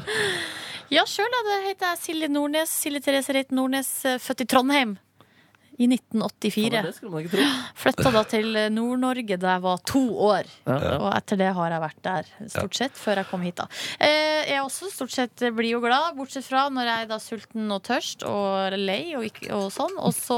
[SPEAKER 3] Ja, sjøl heter jeg Silje Nordnes. Silje Therese Reiten Nordnes, eh, født i Trondheim. I
[SPEAKER 4] Ja,
[SPEAKER 3] 1984.
[SPEAKER 4] det skulle man ikke tro.
[SPEAKER 3] Flytta da til eh, Nord-Norge da jeg var to år.
[SPEAKER 4] Ja, ja.
[SPEAKER 3] Og etter det har jeg vært der, stort sett, før jeg kom hit. da eh, Jeg er også stort sett eh, blid og glad, bortsett fra når jeg er da sulten og tørst og lei og, ikke, og sånn. Og så,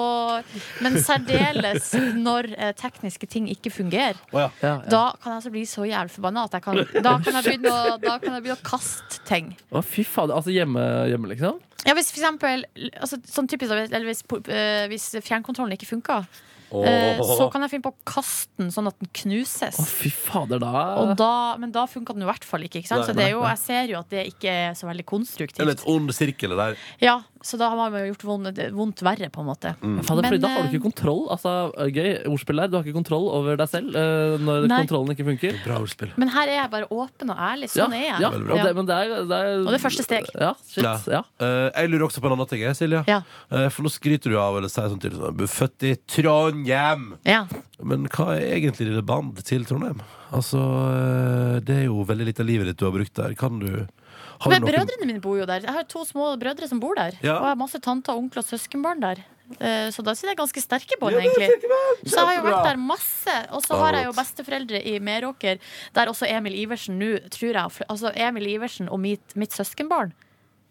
[SPEAKER 3] men særdeles når eh, tekniske ting ikke fungerer.
[SPEAKER 4] Ja, ja.
[SPEAKER 3] Da kan jeg altså bli så jævlig forbanna at jeg kan, da, kan jeg begynne å, da kan jeg begynne å kaste ting.
[SPEAKER 4] Å, fy faen. Altså hjemme, hjemme liksom?
[SPEAKER 3] Ja, hvis for eksempel altså, Sånn typisk, da, eller hvis, po- eh, hvis fjernkontrollen ikke funker, eh, så kan jeg finne på å kaste den sånn at den knuses.
[SPEAKER 4] Å, fy fader,
[SPEAKER 3] Og
[SPEAKER 4] da
[SPEAKER 3] da, men da funka den i hvert fall ikke. ikke sant?
[SPEAKER 2] Nei,
[SPEAKER 3] Så det er jo, jeg ser jo at det ikke er så
[SPEAKER 2] En
[SPEAKER 3] veldig
[SPEAKER 2] litt
[SPEAKER 3] konstruktivt.
[SPEAKER 2] ond sirkel det der.
[SPEAKER 3] Ja, Så da har man jo gjort vondt, vondt verre, på en måte.
[SPEAKER 4] Fader, fordi
[SPEAKER 3] Men,
[SPEAKER 4] da har du
[SPEAKER 3] eh,
[SPEAKER 4] ikke kontroll. Altså, gøy ordspill der. Du har ikke kontroll over deg selv eh, når
[SPEAKER 3] Nei.
[SPEAKER 4] kontrollen ikke funker.
[SPEAKER 2] Bra ordspill.
[SPEAKER 3] Men her er jeg bare åpen og ærlig. Sånn er jeg.
[SPEAKER 4] Ja,
[SPEAKER 2] Veldig
[SPEAKER 4] og, det, men det er, det er,
[SPEAKER 3] Og det er første steg.
[SPEAKER 4] Ja, shit,
[SPEAKER 2] Ja.
[SPEAKER 4] ja.
[SPEAKER 2] Eh, jeg lurer også på en annen ting, jeg, Silje.
[SPEAKER 3] Ja.
[SPEAKER 2] Eh, for nå skryter du av eller sier sånn til sånn, «Du er Født i Trondheim!
[SPEAKER 3] Ja.
[SPEAKER 2] Men hva er egentlig dine band til Trondheim? Altså, eh, det er jo veldig litt av livet ditt du har brukt der. Kan du har
[SPEAKER 3] Men
[SPEAKER 2] du noen-
[SPEAKER 3] brødrene mine bor jo der. Jeg har to små brødre som bor der.
[SPEAKER 2] Ja.
[SPEAKER 3] Og jeg har masse tanter, onkler og søskenbarn der. Eh, Så da sier jeg ganske sterke bånd, egentlig. Så jeg har jo vært der masse. Og så har jeg jo besteforeldre i Meråker, der også Emil Iversen nå, tror jeg har fly- Altså Emil Iversen og mitt, mitt søskenbarn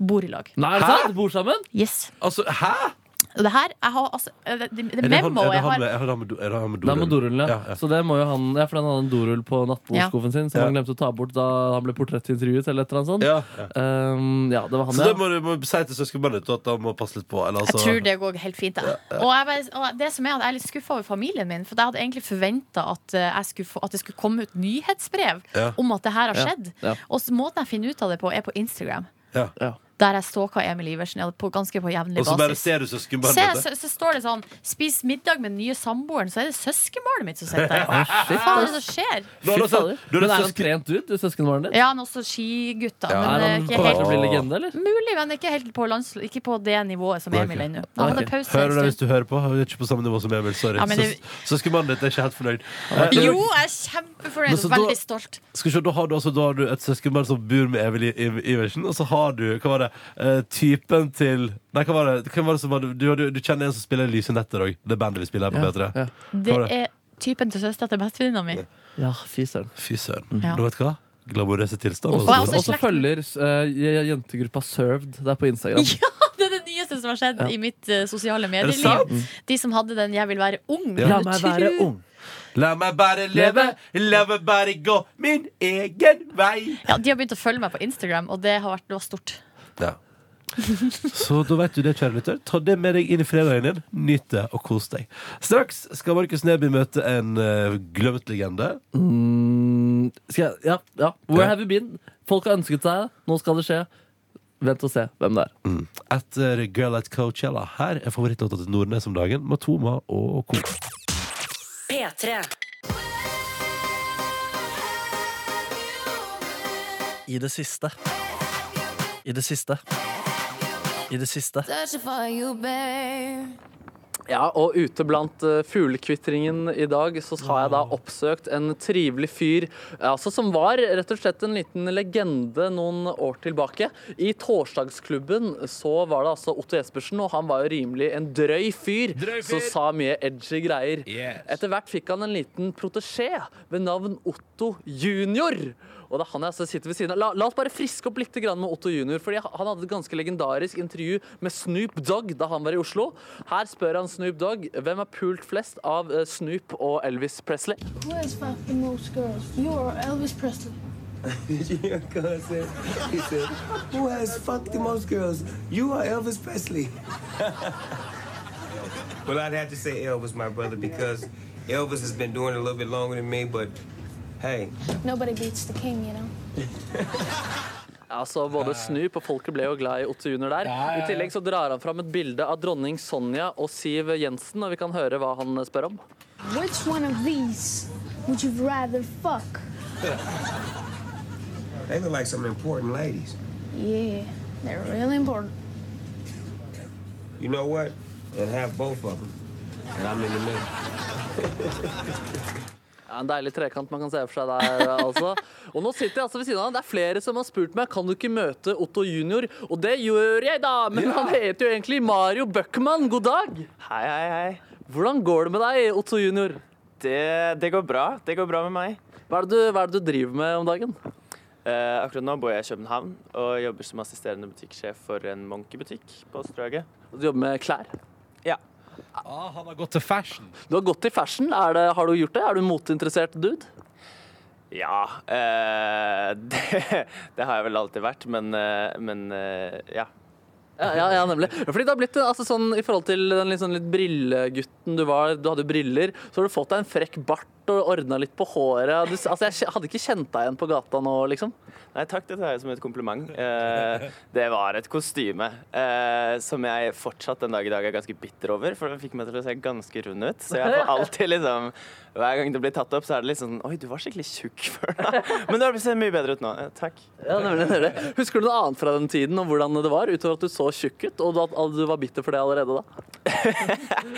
[SPEAKER 3] bor i lag.
[SPEAKER 4] Nei, er det sant? Bor sammen?
[SPEAKER 3] Yes.
[SPEAKER 2] Altså, hæ?!
[SPEAKER 3] Og det her jeg har, altså, det, det, det
[SPEAKER 2] Er det han, er
[SPEAKER 3] memoet
[SPEAKER 2] det
[SPEAKER 3] jeg
[SPEAKER 2] han,
[SPEAKER 3] har
[SPEAKER 2] med- er det han med, do- er det han med
[SPEAKER 4] Det er
[SPEAKER 2] dorull?
[SPEAKER 4] med dorullen, ja.
[SPEAKER 2] Ja, ja.
[SPEAKER 4] Så det må jo han, ja, for han hadde en dorull på nattbordskuffen sin som
[SPEAKER 2] Ja.
[SPEAKER 4] han glemte å ta bort da han ble portrettintervjuet. eller et eller annet sånt.
[SPEAKER 2] Ja, ja.
[SPEAKER 4] Ehm, ja, det var han,
[SPEAKER 2] Så det
[SPEAKER 4] ja.
[SPEAKER 2] må du må si til søskenbarnet ditt at han må passe litt på. Eller, altså,
[SPEAKER 3] Jeg tror det går helt fint. Jeg. Og, jeg bare, og det som er at jeg er litt skuffa over familien min, for jeg hadde egentlig forventa at, eh, jeg skulle få- at det skulle komme ut nyhetsbrev
[SPEAKER 2] Ja.
[SPEAKER 3] om at det her har skjedd.
[SPEAKER 4] ja.
[SPEAKER 3] Og så måten jeg finner ut av det på, er på Instagram.
[SPEAKER 2] Ja.
[SPEAKER 4] Ja.
[SPEAKER 3] Der jeg stalker Emil Iversen ja, på ganske på jevnlig
[SPEAKER 2] Og så bare
[SPEAKER 3] basis.
[SPEAKER 2] ser du søskenbarnet
[SPEAKER 3] Se,
[SPEAKER 2] ditt.
[SPEAKER 3] så, så står det sånn 'Spis middag med den nye samboeren', så er det søskenbarnet mitt som sitter der.
[SPEAKER 4] Å,
[SPEAKER 3] Hva
[SPEAKER 4] shit,
[SPEAKER 3] faen er
[SPEAKER 4] ass.
[SPEAKER 3] det som
[SPEAKER 2] Nå
[SPEAKER 3] skjer?
[SPEAKER 2] er
[SPEAKER 4] Fy
[SPEAKER 2] det sånn- nå
[SPEAKER 4] fader.
[SPEAKER 2] er
[SPEAKER 4] Men
[SPEAKER 2] det
[SPEAKER 4] er
[SPEAKER 2] søsken-
[SPEAKER 4] han trent ut, søskenbarnet ditt?
[SPEAKER 3] Ja, han er også skigutta, men eh,
[SPEAKER 4] Er
[SPEAKER 3] det
[SPEAKER 4] han
[SPEAKER 3] er
[SPEAKER 4] på
[SPEAKER 3] ikke
[SPEAKER 4] vei
[SPEAKER 3] helt
[SPEAKER 4] til å bli legende, eller?
[SPEAKER 3] mulig. Men ikke helt på, lands- ikke på det nivået som Emil er nå. Han hadde
[SPEAKER 4] Ok.
[SPEAKER 3] pause. en
[SPEAKER 2] Hører du det
[SPEAKER 3] stund.
[SPEAKER 2] hvis du hører på? Du er ikke på samme nivå som Emil. Sorry.
[SPEAKER 3] Ja, men det-
[SPEAKER 2] Søs- Søskenbarnet ditt er ikke helt fornøyd. Eh,
[SPEAKER 3] Jo, jeg er
[SPEAKER 2] Men
[SPEAKER 3] kjempefornøyd
[SPEAKER 2] så
[SPEAKER 3] og
[SPEAKER 2] da-
[SPEAKER 3] veldig stolt.
[SPEAKER 2] Skal vi se, da har du, altså, da har du et søskenbarn som bor med Emil I- I- Iversen, og så har du hva var det, eh, typen til Nei, hva var det, hvem var det som var, du, du, du kjenner en som spiller Lyse netter òg. Det bandet vi spiller her på P3.
[SPEAKER 4] ja.
[SPEAKER 3] Det
[SPEAKER 2] var det?
[SPEAKER 3] er typen til søstera til bestevenninna mi.
[SPEAKER 4] Ja, fy søren.
[SPEAKER 2] Fy søren.
[SPEAKER 4] Mm.
[SPEAKER 3] Ja.
[SPEAKER 2] Du vet hva? Glamorøse tilstand. altså.
[SPEAKER 3] Og
[SPEAKER 4] Og
[SPEAKER 3] er også i
[SPEAKER 4] så
[SPEAKER 3] slekt
[SPEAKER 4] følger eh, j- jentegruppa Served der på Instagram.
[SPEAKER 3] Ja, det er det nyeste som har skjedd i mitt eh, sosiale
[SPEAKER 2] Er det sant? Mm.
[SPEAKER 3] medieliv. De som hadde den 'Jeg vil være ung'.
[SPEAKER 2] Ja. La
[SPEAKER 3] men du tror-
[SPEAKER 2] La meg bare leve, la meg bare gå min egen vei.
[SPEAKER 3] Ja, de har begynt å følge meg på Instagram, og det har vært det var stort.
[SPEAKER 2] Ja. Så da vet du det, kjære lytter. Ta det med deg inn i fredagen din. Nyt det og kos deg. Straks skal Markus Neby møte en eh, glemt legende.
[SPEAKER 4] Mm, skal jeg, ja, ja. Where
[SPEAKER 2] Ja.
[SPEAKER 4] have you been? Folk har ønsket seg det. Nå skal det skje. Vent og se hvem det er.
[SPEAKER 2] Mm. Etter Girl at Coachella. Her er favorittlåta til Nordnes om dagen. Matoma og Co.
[SPEAKER 1] P3.
[SPEAKER 9] I det siste. I det siste. I det siste.
[SPEAKER 4] Ja, og ute blant eh, fuglekvittringen i dag så har jeg da
[SPEAKER 9] Mm.
[SPEAKER 4] oppsøkt en trivelig fyr eh, altså som var rett og slett en liten legende noen år tilbake. I torsdagsklubben så var det altså Otto Jespersen, og han var jo rimelig en drøy fyr,
[SPEAKER 2] Drøy fyr!
[SPEAKER 4] som sa mye edgy greier.
[SPEAKER 2] Yes.
[SPEAKER 4] Etter hvert fikk han en liten protesjé ved navn Otto Junior. Og det er han jeg altså sitter ved siden av. La, la oss bare friske opp litt grann med Otto Junior. fordi Han hadde et ganske legendarisk intervju med Snoop Dogg da han var i Oslo. Her spør han Snoop Dogg hvem er pult flest av eh, Snoop og Elvis Presley.
[SPEAKER 10] Who has fucked the most girls? You or Elvis Presley?
[SPEAKER 11] Your cousin said, he said, who has fucked the most girls? You are Elvis Presley. well, I'd have to say Elvis, my brother, because Elvis has been doing it a little bit longer than me, but hey,
[SPEAKER 10] Nobody beats the king, you know.
[SPEAKER 4] Altså, Både Snoop og folket ble jo glad i Otto Junior der. I tillegg så drar han fram et bilde av dronning Sonja og Siv Jensen, og vi kan høre hva han spør om.
[SPEAKER 10] Which one of these would you rather fuck?
[SPEAKER 11] they look like some important ladies.
[SPEAKER 10] Yeah, they're really important.
[SPEAKER 11] You know what? And have both of them. And I'm in the middle.
[SPEAKER 4] Ja, en deilig trekant man kan se for seg der, altså. Og nå sitter jeg altså ved siden av han. Det er flere som har spurt meg kan du ikke møte Otto junior. Og det gjør jeg, da! Men han heter jo egentlig Mario Bøckmann. God dag! Hei, hei, hei. Hvordan går det med deg, Otto junior?
[SPEAKER 11] Det, det går bra. Det går bra med meg.
[SPEAKER 4] Hva er det du, hva er det du driver med om dagen?
[SPEAKER 11] Eh, akkurat nå bor jeg i København og jobber som assisterende butikksjef for en monkeybutikk på Strøget.
[SPEAKER 4] Du jobber med klær.
[SPEAKER 2] Ah, han har gått til fashion.
[SPEAKER 4] Du har gått i fashion. Er det, har du gjort det? Er du moteinteressert dude?
[SPEAKER 11] Ja, eh, det, det har jeg vel alltid vært, men, eh, men eh, ja.
[SPEAKER 4] Ja, ja, ja, nemlig. Ja, Fordi det har blitt altså, sånn, I forhold til den litt, sånn, litt brillegutten du var, du hadde jo briller, så har du fått deg en frekk bart og ordna litt på håret. Du, altså, jeg kj- hadde ikke kjent deg igjen på gata nå, liksom.
[SPEAKER 11] Nei takk, det tar jeg som et kompliment. Eh, det var et kostyme eh, som jeg fortsatt den dag i dag er ganske bitter over, for det fikk meg til å se ganske rund ut. Så jeg får alltid liksom Hver gang det blir tatt opp, så er det liksom sånn Oi, du var skikkelig tjukk før, da. Men du har blitt- ser mye bedre ut nå. Eh, takk.
[SPEAKER 4] Ja, nemlig, nemlig. Husker du noe annet fra den tiden om hvordan det var, utover at du så tjukk ut, og at du var bitter for det allerede da?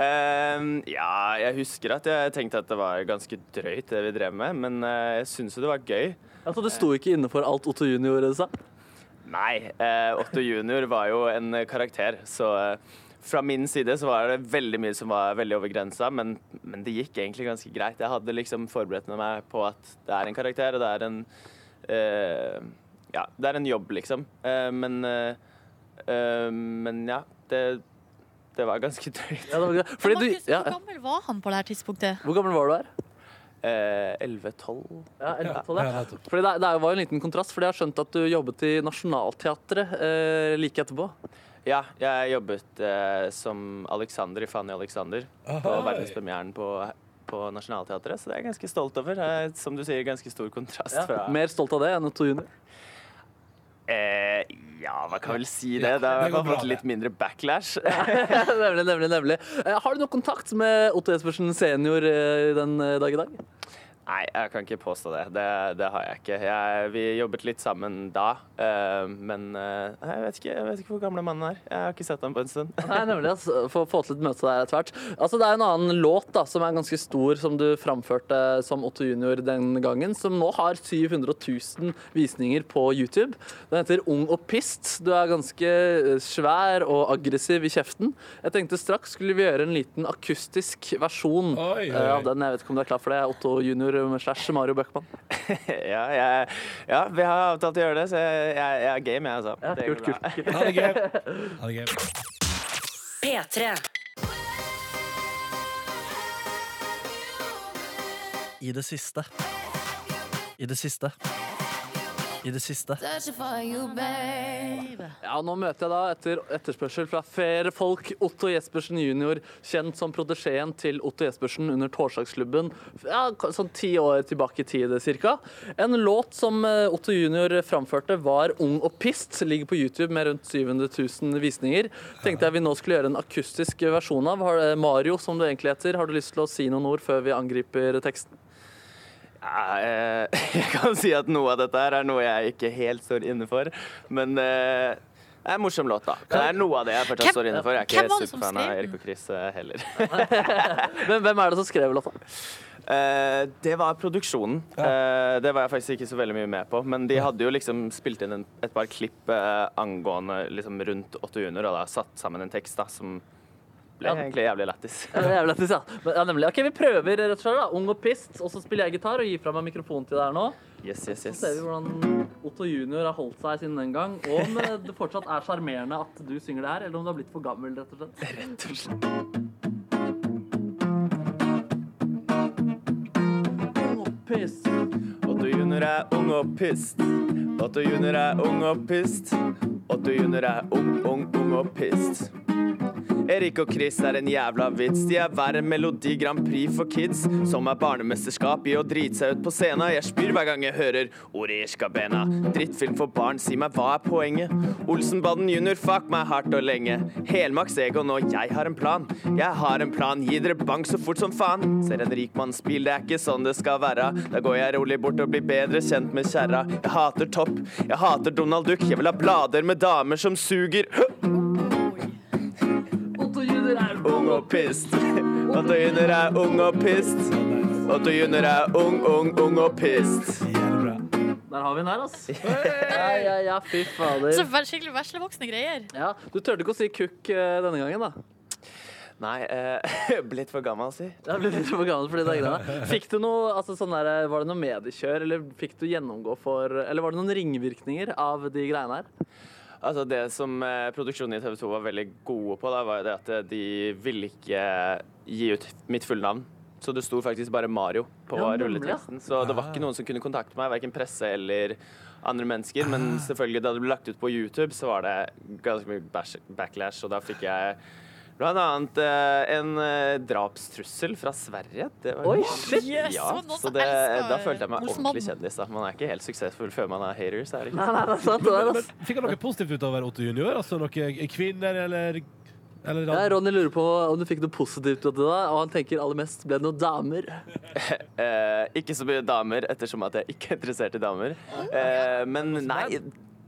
[SPEAKER 11] Ehm, ja, jeg husker at jeg tenkte at det var ganske drøyt det vi drev med, men eh, jeg syns jo det var gøy.
[SPEAKER 4] Altså, du sto ikke inne for alt Otto Junior sa?
[SPEAKER 11] Nei, eh, Otto junior var jo en karakter, så eh, fra min side så var det veldig mye som var veldig over grensa, men, men det gikk egentlig ganske greit. Jeg hadde liksom forberedt meg på at det er en karakter, og det er en eh, Ja, det er en jobb, liksom. Eh, men eh, eh, Men ja, det, det var ganske drøyt.
[SPEAKER 4] Ja, det var gøy. Fordi du,
[SPEAKER 3] Markus,
[SPEAKER 4] ja,
[SPEAKER 3] Hvor gammel var han på det her tidspunktet?
[SPEAKER 4] hvor gammel var du her?
[SPEAKER 11] Eh, 11-12
[SPEAKER 4] Ja, jeg lurte på det.
[SPEAKER 2] Ja, nettopp.
[SPEAKER 4] Fordi det, det var jo en liten kontrast, fordi jeg har skjønt at du jobbet i Nationaltheatret eh, like etterpå.
[SPEAKER 11] Ja, jeg jobbet eh, som Alexander i Fanny Alexander på
[SPEAKER 2] Ahoi.
[SPEAKER 11] verdenspremieren på, på Nationaltheatret, så det er jeg ganske stolt over. Eh, som du sier, ganske stor kontrast fra
[SPEAKER 4] Mer stolt av det enn Otto Junior.
[SPEAKER 11] eh, Ja, man kan vel si det.
[SPEAKER 2] Ja,
[SPEAKER 11] Da har
[SPEAKER 2] det
[SPEAKER 11] jeg
[SPEAKER 2] går
[SPEAKER 11] bare
[SPEAKER 2] bra,
[SPEAKER 11] fått
[SPEAKER 2] det.
[SPEAKER 11] litt mindre backlash.
[SPEAKER 4] nemlig, nemlig, nemlig. Eh, Har du noe kontakt med Otto Jespersen senior eh, den eh, dag i dag?
[SPEAKER 11] Nei, jeg kan ikke påstå det. Det, det har jeg ikke. Jeg, vi jobbet litt sammen da, eh, men eh, nei, jeg, vet ikke, jeg vet ikke hvor gamle mannen er. Jeg har ikke sett ham på en stund.
[SPEAKER 4] Nei, nemlig. Altså, få, få til et møte der etter hvert. Altså, det er en annen låt da, som er ganske stor, som du framførte som Otto Junior den gangen, som nå har 700 000 visninger på YouTube. Den heter Ung og pist. Du er ganske eh, svær og aggressiv i kjeften. Jeg tenkte straks skulle vi gjøre en liten akustisk versjon
[SPEAKER 2] Oi, oi, oi.
[SPEAKER 4] eh, av den. Jeg vet ikke om du er klar for det, Otto Junior slash Mario Bøckmann.
[SPEAKER 11] ja, jeg, ja, vi har avtalt å gjøre det, så jeg, jeg, jeg er game, jeg, altså.
[SPEAKER 4] Ja,
[SPEAKER 11] Det går
[SPEAKER 4] kult,
[SPEAKER 11] bra.
[SPEAKER 4] kult. kult.
[SPEAKER 2] Ha det gøy. Ha det gøy.
[SPEAKER 1] P3.
[SPEAKER 12] I det siste. I det siste. I det siste.
[SPEAKER 4] Ja, nå møter jeg da etter etterspørsel fra flere folk Otto Jespersen jr., kjent som protesjeen til Otto Jespersen under torsdagsklubben ja, k- sånn ti år tilbake i tid cirka. En låt som eh, Otto jr. framførte var Ung og pist, ligger på YouTube med rundt 700 000 visninger. Tenkte jeg vi nå skulle gjøre en akustisk versjon av. Har, eh, Mario, som du egentlig heter, har du lyst til å si noen ord før vi angriper teksten?
[SPEAKER 11] Ja, eh, jeg kan si at noe av dette her er noe jeg ikke helt står inne for, men eh, Det er en morsom låt, da. Det er noe av det jeg
[SPEAKER 3] Hvem-
[SPEAKER 11] fortsatt står inne for. Jeg
[SPEAKER 3] hvem
[SPEAKER 11] er
[SPEAKER 3] var
[SPEAKER 11] ikke
[SPEAKER 3] det som
[SPEAKER 11] superfan av
[SPEAKER 3] skrev den?
[SPEAKER 11] Erik og Chris eh, heller.
[SPEAKER 4] Men hvem er det som skrev låta?
[SPEAKER 11] Eh, det var produksjonen. Eh, det var jeg faktisk ikke så veldig mye med på. Men de hadde jo liksom spilt inn en, et par klipp eh, angående liksom rundt Otto Junior, og da satt sammen en tekst da, som ble
[SPEAKER 4] Ja.
[SPEAKER 11] egentlig jævlig lættis.
[SPEAKER 4] Ja, det er jævlig lættis, ja. Men, ja, nemlig. Ok, Vi prøver rett og slett. da. Ung og pist. Og så spiller jeg gitar og gir fra meg mikrofonen til deg her nå.
[SPEAKER 11] Yes, yes,
[SPEAKER 4] Så
[SPEAKER 11] yes.
[SPEAKER 4] ser vi hvordan Otto junior har holdt seg siden den gang. Og om eh, det fortsatt er sjarmerende at du synger det her, eller om du har blitt for gammel, rett og slett.
[SPEAKER 11] Rett og slett.
[SPEAKER 4] Pist.
[SPEAKER 11] Otto Junior er ung og pist. Otto Junior er ung og pist. Otto Junior er ung, ung, ung og pist. Erik og Chris er en jævla vits. De er verre enn Melodi Grand Prix for kids, som er barnemesterskap i å drite seg ut på scenen. Jeg spyr hver gang jeg hører ordet Irskabena. Drittfilm for barn, si meg hva er poenget? Olsenbanden junior, fuck meg hardt og lenge. Helmaks Egon og jeg har en plan. Jeg har en plan, gi dere bank så fort som faen. Ser en rikmannsbil, det er ikke sånn det skal være. Da går jeg rolig bort og blir bedre kjent med kjerra. Jeg hater topp, jeg hater Donald Duck, jeg vil ha blader med damer som suger.
[SPEAKER 4] Otto junior er
[SPEAKER 11] Ung og pist. Otto Junior er ung og pist. Otto Junior er ung, ung, ung og pist.
[SPEAKER 4] Der har vi den her, altså. Ja, ja, ja, fy fader.
[SPEAKER 3] Så vær- skikkelig veslevoksne greier.
[SPEAKER 4] Ja, du turte ikke å si kukk eh, denne gangen, da.
[SPEAKER 11] Nei, blitt for gammel, si.
[SPEAKER 4] Jeg ble litt for gammel for de greiene. der. Fikk du noe, altså sånn der, Var det noe mediekjør, eller fikk du gjennomgå for Eller var det noen ringvirkninger av de greiene her?
[SPEAKER 11] Altså Det som eh, produksjonen i TV 2 var veldig gode på, da, var jo det at eh, de ville ikke eh, gi ut mitt fulle navn. Så det sto faktisk bare Mario på
[SPEAKER 4] Ja, nemlig, ja.
[SPEAKER 11] rulleteksten. Så det var ikke noen som kunne kontakte meg, verken presse eller andre mennesker. Men selvfølgelig, da det ble lagt ut på YouTube, så var det ganske mye bash- backlash, og da fikk jeg Blant annet eh, en eh, drapstrussel fra Sverige. Det var
[SPEAKER 4] Oi, shit! Yes,
[SPEAKER 11] ja,
[SPEAKER 4] det var noen
[SPEAKER 11] så
[SPEAKER 4] som
[SPEAKER 11] det,
[SPEAKER 4] elsket
[SPEAKER 11] da følte jeg meg
[SPEAKER 4] Olsenmannen.
[SPEAKER 11] ordentlig kjendis. Da. Man er ikke helt suksessfull før man er haters. Er det ikke?
[SPEAKER 4] der,
[SPEAKER 13] Men, men, fikk han noe positivt ut av å være Otto junior? Altså noen kvinner eller, eller
[SPEAKER 4] Ja, Ronny lurer på om du fikk noe positivt ut av det, og han tenker aller mest ble det noen damer.
[SPEAKER 11] Eh, ikke så mye damer, ettersom at jeg ikke er interessert i damer. Eh, men nei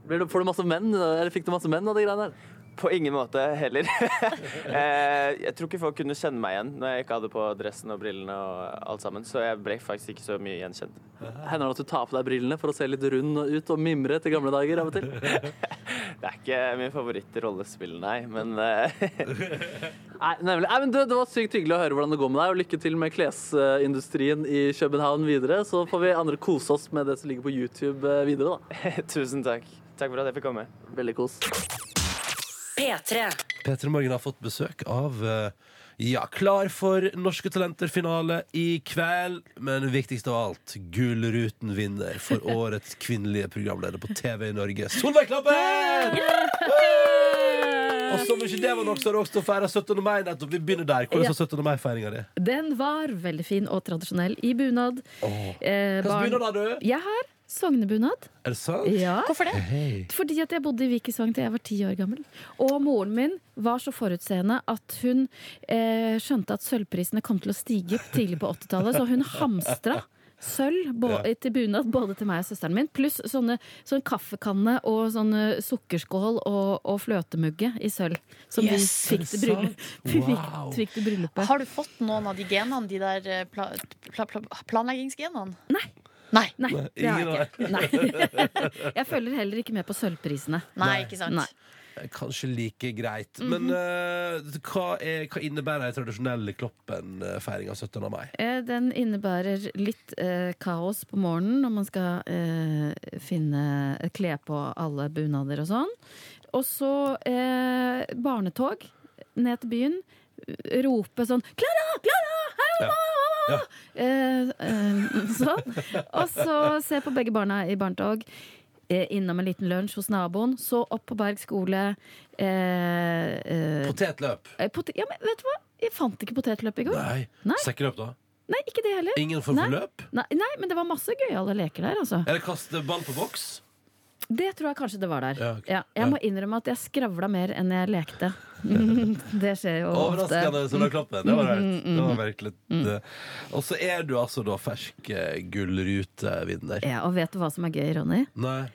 [SPEAKER 4] Blir du- Får du masse menn, eller fikk du masse menn av de greiene der?
[SPEAKER 11] På ingen måte heller. eh, jeg tror ikke folk kunne kjenne meg igjen når jeg ikke hadde på dressen og brillene og alt sammen, så jeg ble faktisk ikke så mye gjenkjent.
[SPEAKER 4] Hender det at du tar på deg brillene for å se litt rund og ut og mimre til gamle dager av og til?
[SPEAKER 11] Det er ikke min favorittrollespill, nei, men eh,
[SPEAKER 4] Nei, nemlig. Nei, men du, Det var sykt hyggelig å høre hvordan det går med deg. og Lykke til med klesindustrien i København videre. Så får vi andre kose oss med det som ligger på YouTube eh, videre. da.
[SPEAKER 11] Tusen takk. Takk for at jeg fikk komme.
[SPEAKER 4] Veldig kos.
[SPEAKER 1] P3.
[SPEAKER 2] P3 Morgen har fått besøk av eh, Ja, klar for Norske Talenter-finale i kveld. Men viktigst av alt, Gullruten vinner for årets kvinnelige programleder på TV i Norge. Solveig Klappen! Og som ikke det var nok, så har du også feira 17. mai nettopp. Vi begynner der. Hvordan var 17. mai-feiringa di?
[SPEAKER 14] Den var veldig fin og tradisjonell i bunad.
[SPEAKER 2] Åh.
[SPEAKER 14] Eh,
[SPEAKER 2] Hvilken
[SPEAKER 14] barn-
[SPEAKER 2] bunad har du?
[SPEAKER 14] Jeg har sognebunad.
[SPEAKER 2] Er det sant?
[SPEAKER 14] Ja.
[SPEAKER 2] Hei.
[SPEAKER 14] Fordi at jeg bodde i Vikisvang til jeg var ti år gammel. Og moren min var så forutseende at hun eh, skjønte at sølvprisene kom til å stige tidlig på 80-tallet, så hun hamstra. Sølv bå-
[SPEAKER 15] Ja.
[SPEAKER 14] til bunad både til meg og søsteren min, pluss sånne, sånn kaffekanne og sånne sukkerskål og, og fløtemugge i sølv. Som
[SPEAKER 3] Yes,
[SPEAKER 14] vi
[SPEAKER 3] er
[SPEAKER 14] fikk
[SPEAKER 3] det
[SPEAKER 14] til bryllup. vi fikk-
[SPEAKER 3] sant?
[SPEAKER 14] fikk til bryllupet.
[SPEAKER 3] Har du fått noen av de genene, de der eh, pla pla pla planleggingsgenene?
[SPEAKER 14] Nei.
[SPEAKER 3] Nei.
[SPEAKER 14] det har jeg ikke. Nei. Jeg følger heller ikke med på sølvprisene.
[SPEAKER 3] Nei, ikke sant.
[SPEAKER 2] Kanskje like greit.
[SPEAKER 14] Mhm.
[SPEAKER 2] Men eh, hva, er, hva innebærer den tradisjonelle Kloppen-feiringa 17. mai?
[SPEAKER 14] Eh, Den innebærer litt eh, kaos på morgenen når man skal eh, finne, kle på alle bunader og sånn. Og så eh, barnetog ned til byen. Rope sånn 'Klara! Klara! Her er mamma!» Eh, eh, sånn. Og så se på begge barna i barnetog. Eh, innom en liten lunsj hos naboen. Så opp på Berg skole. Eh, eh,
[SPEAKER 2] Potetløp.
[SPEAKER 14] eh, pote- ja, men vet du hva? Jeg fant ikke potetløp i går.
[SPEAKER 2] Nei.
[SPEAKER 14] Nei.
[SPEAKER 2] Sekkeløp, da?
[SPEAKER 14] Nei, ikke det heller.
[SPEAKER 2] Ingen form for
[SPEAKER 14] Nei.
[SPEAKER 2] løp?
[SPEAKER 14] Nei, nei, men det var masse gøyale leker der, altså.
[SPEAKER 2] Eller kaste ball på boks?
[SPEAKER 14] Det tror jeg kanskje det var der.
[SPEAKER 2] Ja, ok.
[SPEAKER 14] Ja, jeg må innrømme at jeg skravla mer enn jeg lekte. det skjer jo ofte.
[SPEAKER 2] Overraskende som det klappen. Det var
[SPEAKER 14] Mm,
[SPEAKER 2] rart.
[SPEAKER 14] mm,
[SPEAKER 2] Det var
[SPEAKER 14] mm.
[SPEAKER 2] virkelig det. Og så er du altså da fersk eh, gullrutevinner.
[SPEAKER 14] Ja, og vet du hva som er gøy, Ronny?
[SPEAKER 2] Nei.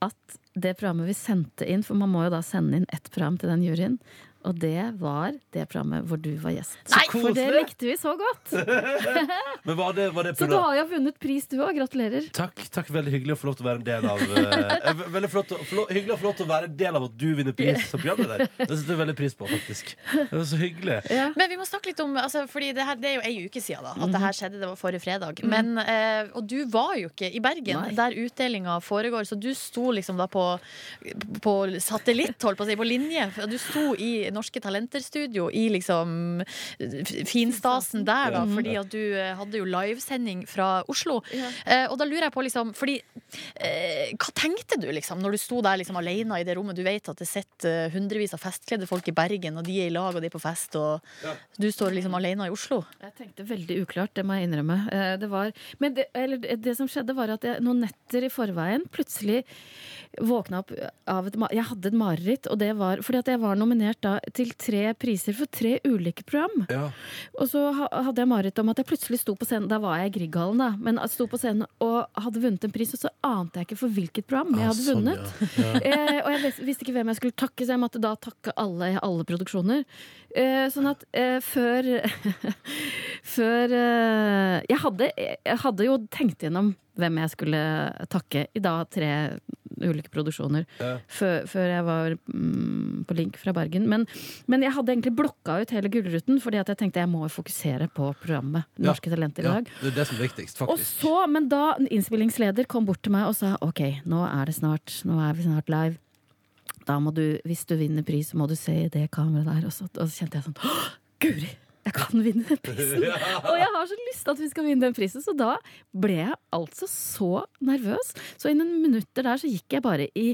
[SPEAKER 14] At det programmet vi sendte inn, for man må jo da sende inn ett program til den juryen. Og det var det programmet hvor du var gjest.
[SPEAKER 2] Så Nei,
[SPEAKER 14] for det
[SPEAKER 2] koselig!
[SPEAKER 14] likte vi så godt!
[SPEAKER 2] Men var det, var det
[SPEAKER 14] Så du har jo vunnet pris, du òg. Gratulerer.
[SPEAKER 2] Takk, takk, veldig hyggelig å få lov til å være en del av eh, ve- Veldig flott, å- flå- Hyggelig å få lov til å være en del av at du vinner pris som programleder. Det setter jeg veldig pris på, faktisk. Det var så hyggelig.
[SPEAKER 3] Men vi må snakke litt om altså, Fordi det, her, det er jo ei uke siden da, at det her skjedde. Det var forrige fredag.
[SPEAKER 14] Mhm.
[SPEAKER 3] Men, eh, og du var jo ikke i Bergen, der utdelinga foregår. Så du sto liksom da på, på satellitt, holdt på å si, på linje. For Du sto i Norske Talenter-studio i liksom f- finstasen der, da.
[SPEAKER 14] Mhm.
[SPEAKER 3] Fordi at du eh, hadde jo livesending fra Oslo.
[SPEAKER 14] Ja.
[SPEAKER 3] Eh, og da lurer jeg på liksom Fordi eh, hva tenkte du liksom når du sto der liksom alene i det rommet? Du vet at det sitter eh, hundrevis av festkledde folk i Bergen, og de er i lag, og de er på fest, og du står liksom alene i Oslo.
[SPEAKER 14] Jeg tenkte veldig uklart, det må jeg innrømme. Eh, Det var, men det, eller det som skjedde, var at jeg noen netter i forveien plutselig våkna opp av et ma- Jeg hadde et mareritt, og det var fordi at jeg var nominert da til tre priser for tre ulike program. Og så ha- hadde jeg mareritt om at jeg plutselig sto på scenen Da var jeg i Grieghallen, da. Men jeg sto på scenen og hadde vunnet en pris, og så ante jeg ikke for hvilket program jeg
[SPEAKER 16] Ah,
[SPEAKER 14] hadde
[SPEAKER 16] sånn,
[SPEAKER 14] vunnet.
[SPEAKER 16] ja. Ja.
[SPEAKER 14] Eh, og jeg vis- visste ikke hvem jeg skulle takke, så jeg måtte da takke alle i alle produksjoner. Eh, sånn at eh, før Før eh, jeg, hadde, jeg hadde jo tenkt gjennom hvem jeg skulle takke i da tre ulike produksjoner
[SPEAKER 16] Ja.
[SPEAKER 14] før, før jeg var mm, på link fra Bergen. Men, men jeg hadde egentlig blokka ut hele Gullruten fordi at jeg tenkte jeg må fokusere på programmet Norske Talenter i dag.
[SPEAKER 2] Ja, det er det som er viktigst,
[SPEAKER 14] Og
[SPEAKER 2] faktisk.
[SPEAKER 14] så, men da en innspillingsleder kom bort til meg og sa OK, nå er det snart, nå er vi snart live. Da må du, hvis du vinner pris, så må du se i det kameraet der. Og så, og så kjente jeg sånn «Åh, Guri! Jeg kan vinne den prisen! Og jeg har så lyst til at vi skal vinne den prisen, så da ble jeg altså så nervøs. Så innen minutter der så gikk jeg bare i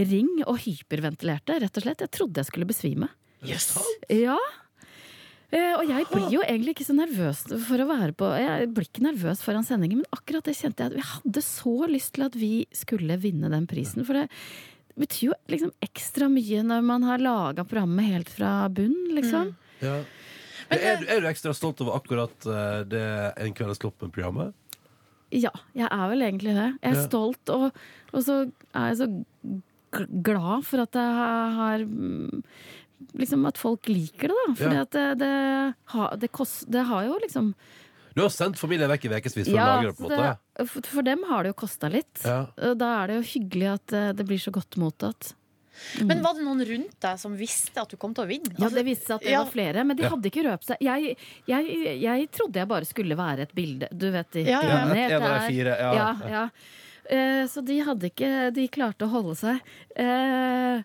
[SPEAKER 14] ring og hyperventilerte, rett og slett. Jeg trodde jeg skulle besvime. Ja. Eh, Og jeg blir jo egentlig ikke så nervøs for å være på Jeg blir ikke nervøs foran sendingen, men akkurat det kjente jeg at jeg hadde så lyst til at vi skulle vinne den prisen. For det betyr jo liksom ekstra mye når man har laga programmet helt fra bunn, liksom.
[SPEAKER 2] Ja. Men
[SPEAKER 14] eh,
[SPEAKER 2] er, du- er du ekstra stolt over akkurat eh, det En kveld er sluppet med programmet?
[SPEAKER 14] Ja, jeg er vel egentlig det. Jeg er
[SPEAKER 2] Ja.
[SPEAKER 14] stolt, og, og så er jeg så gl- glad for at jeg ha- har mm, Liksom at folk liker det, da. For
[SPEAKER 2] Ja.
[SPEAKER 14] det, det, har- det, kost- det har jo liksom
[SPEAKER 2] Du har sendt familien vekk i ukevis for å lage det, på en
[SPEAKER 14] så
[SPEAKER 2] måte.
[SPEAKER 14] det- for- For dem har det jo kosta litt. Eh,
[SPEAKER 2] Ja.
[SPEAKER 14] Og Da er det jo hyggelig at eh, det blir så godt mottatt.
[SPEAKER 3] Men var det noen rundt deg som visste at du kom til å vinne?
[SPEAKER 14] Ja, det viste seg at det
[SPEAKER 3] ja.
[SPEAKER 14] var flere, men de
[SPEAKER 3] Ja.
[SPEAKER 14] hadde ikke røpt seg. Jeg, jeg, jeg trodde jeg bare skulle være et bilde. Du vet, de
[SPEAKER 17] Ja, ja, ja.
[SPEAKER 14] planeter
[SPEAKER 17] En av de
[SPEAKER 14] er-
[SPEAKER 17] fire, ja.
[SPEAKER 14] ja, ja. Eh, Så de hadde ikke De klarte å holde seg. Eh,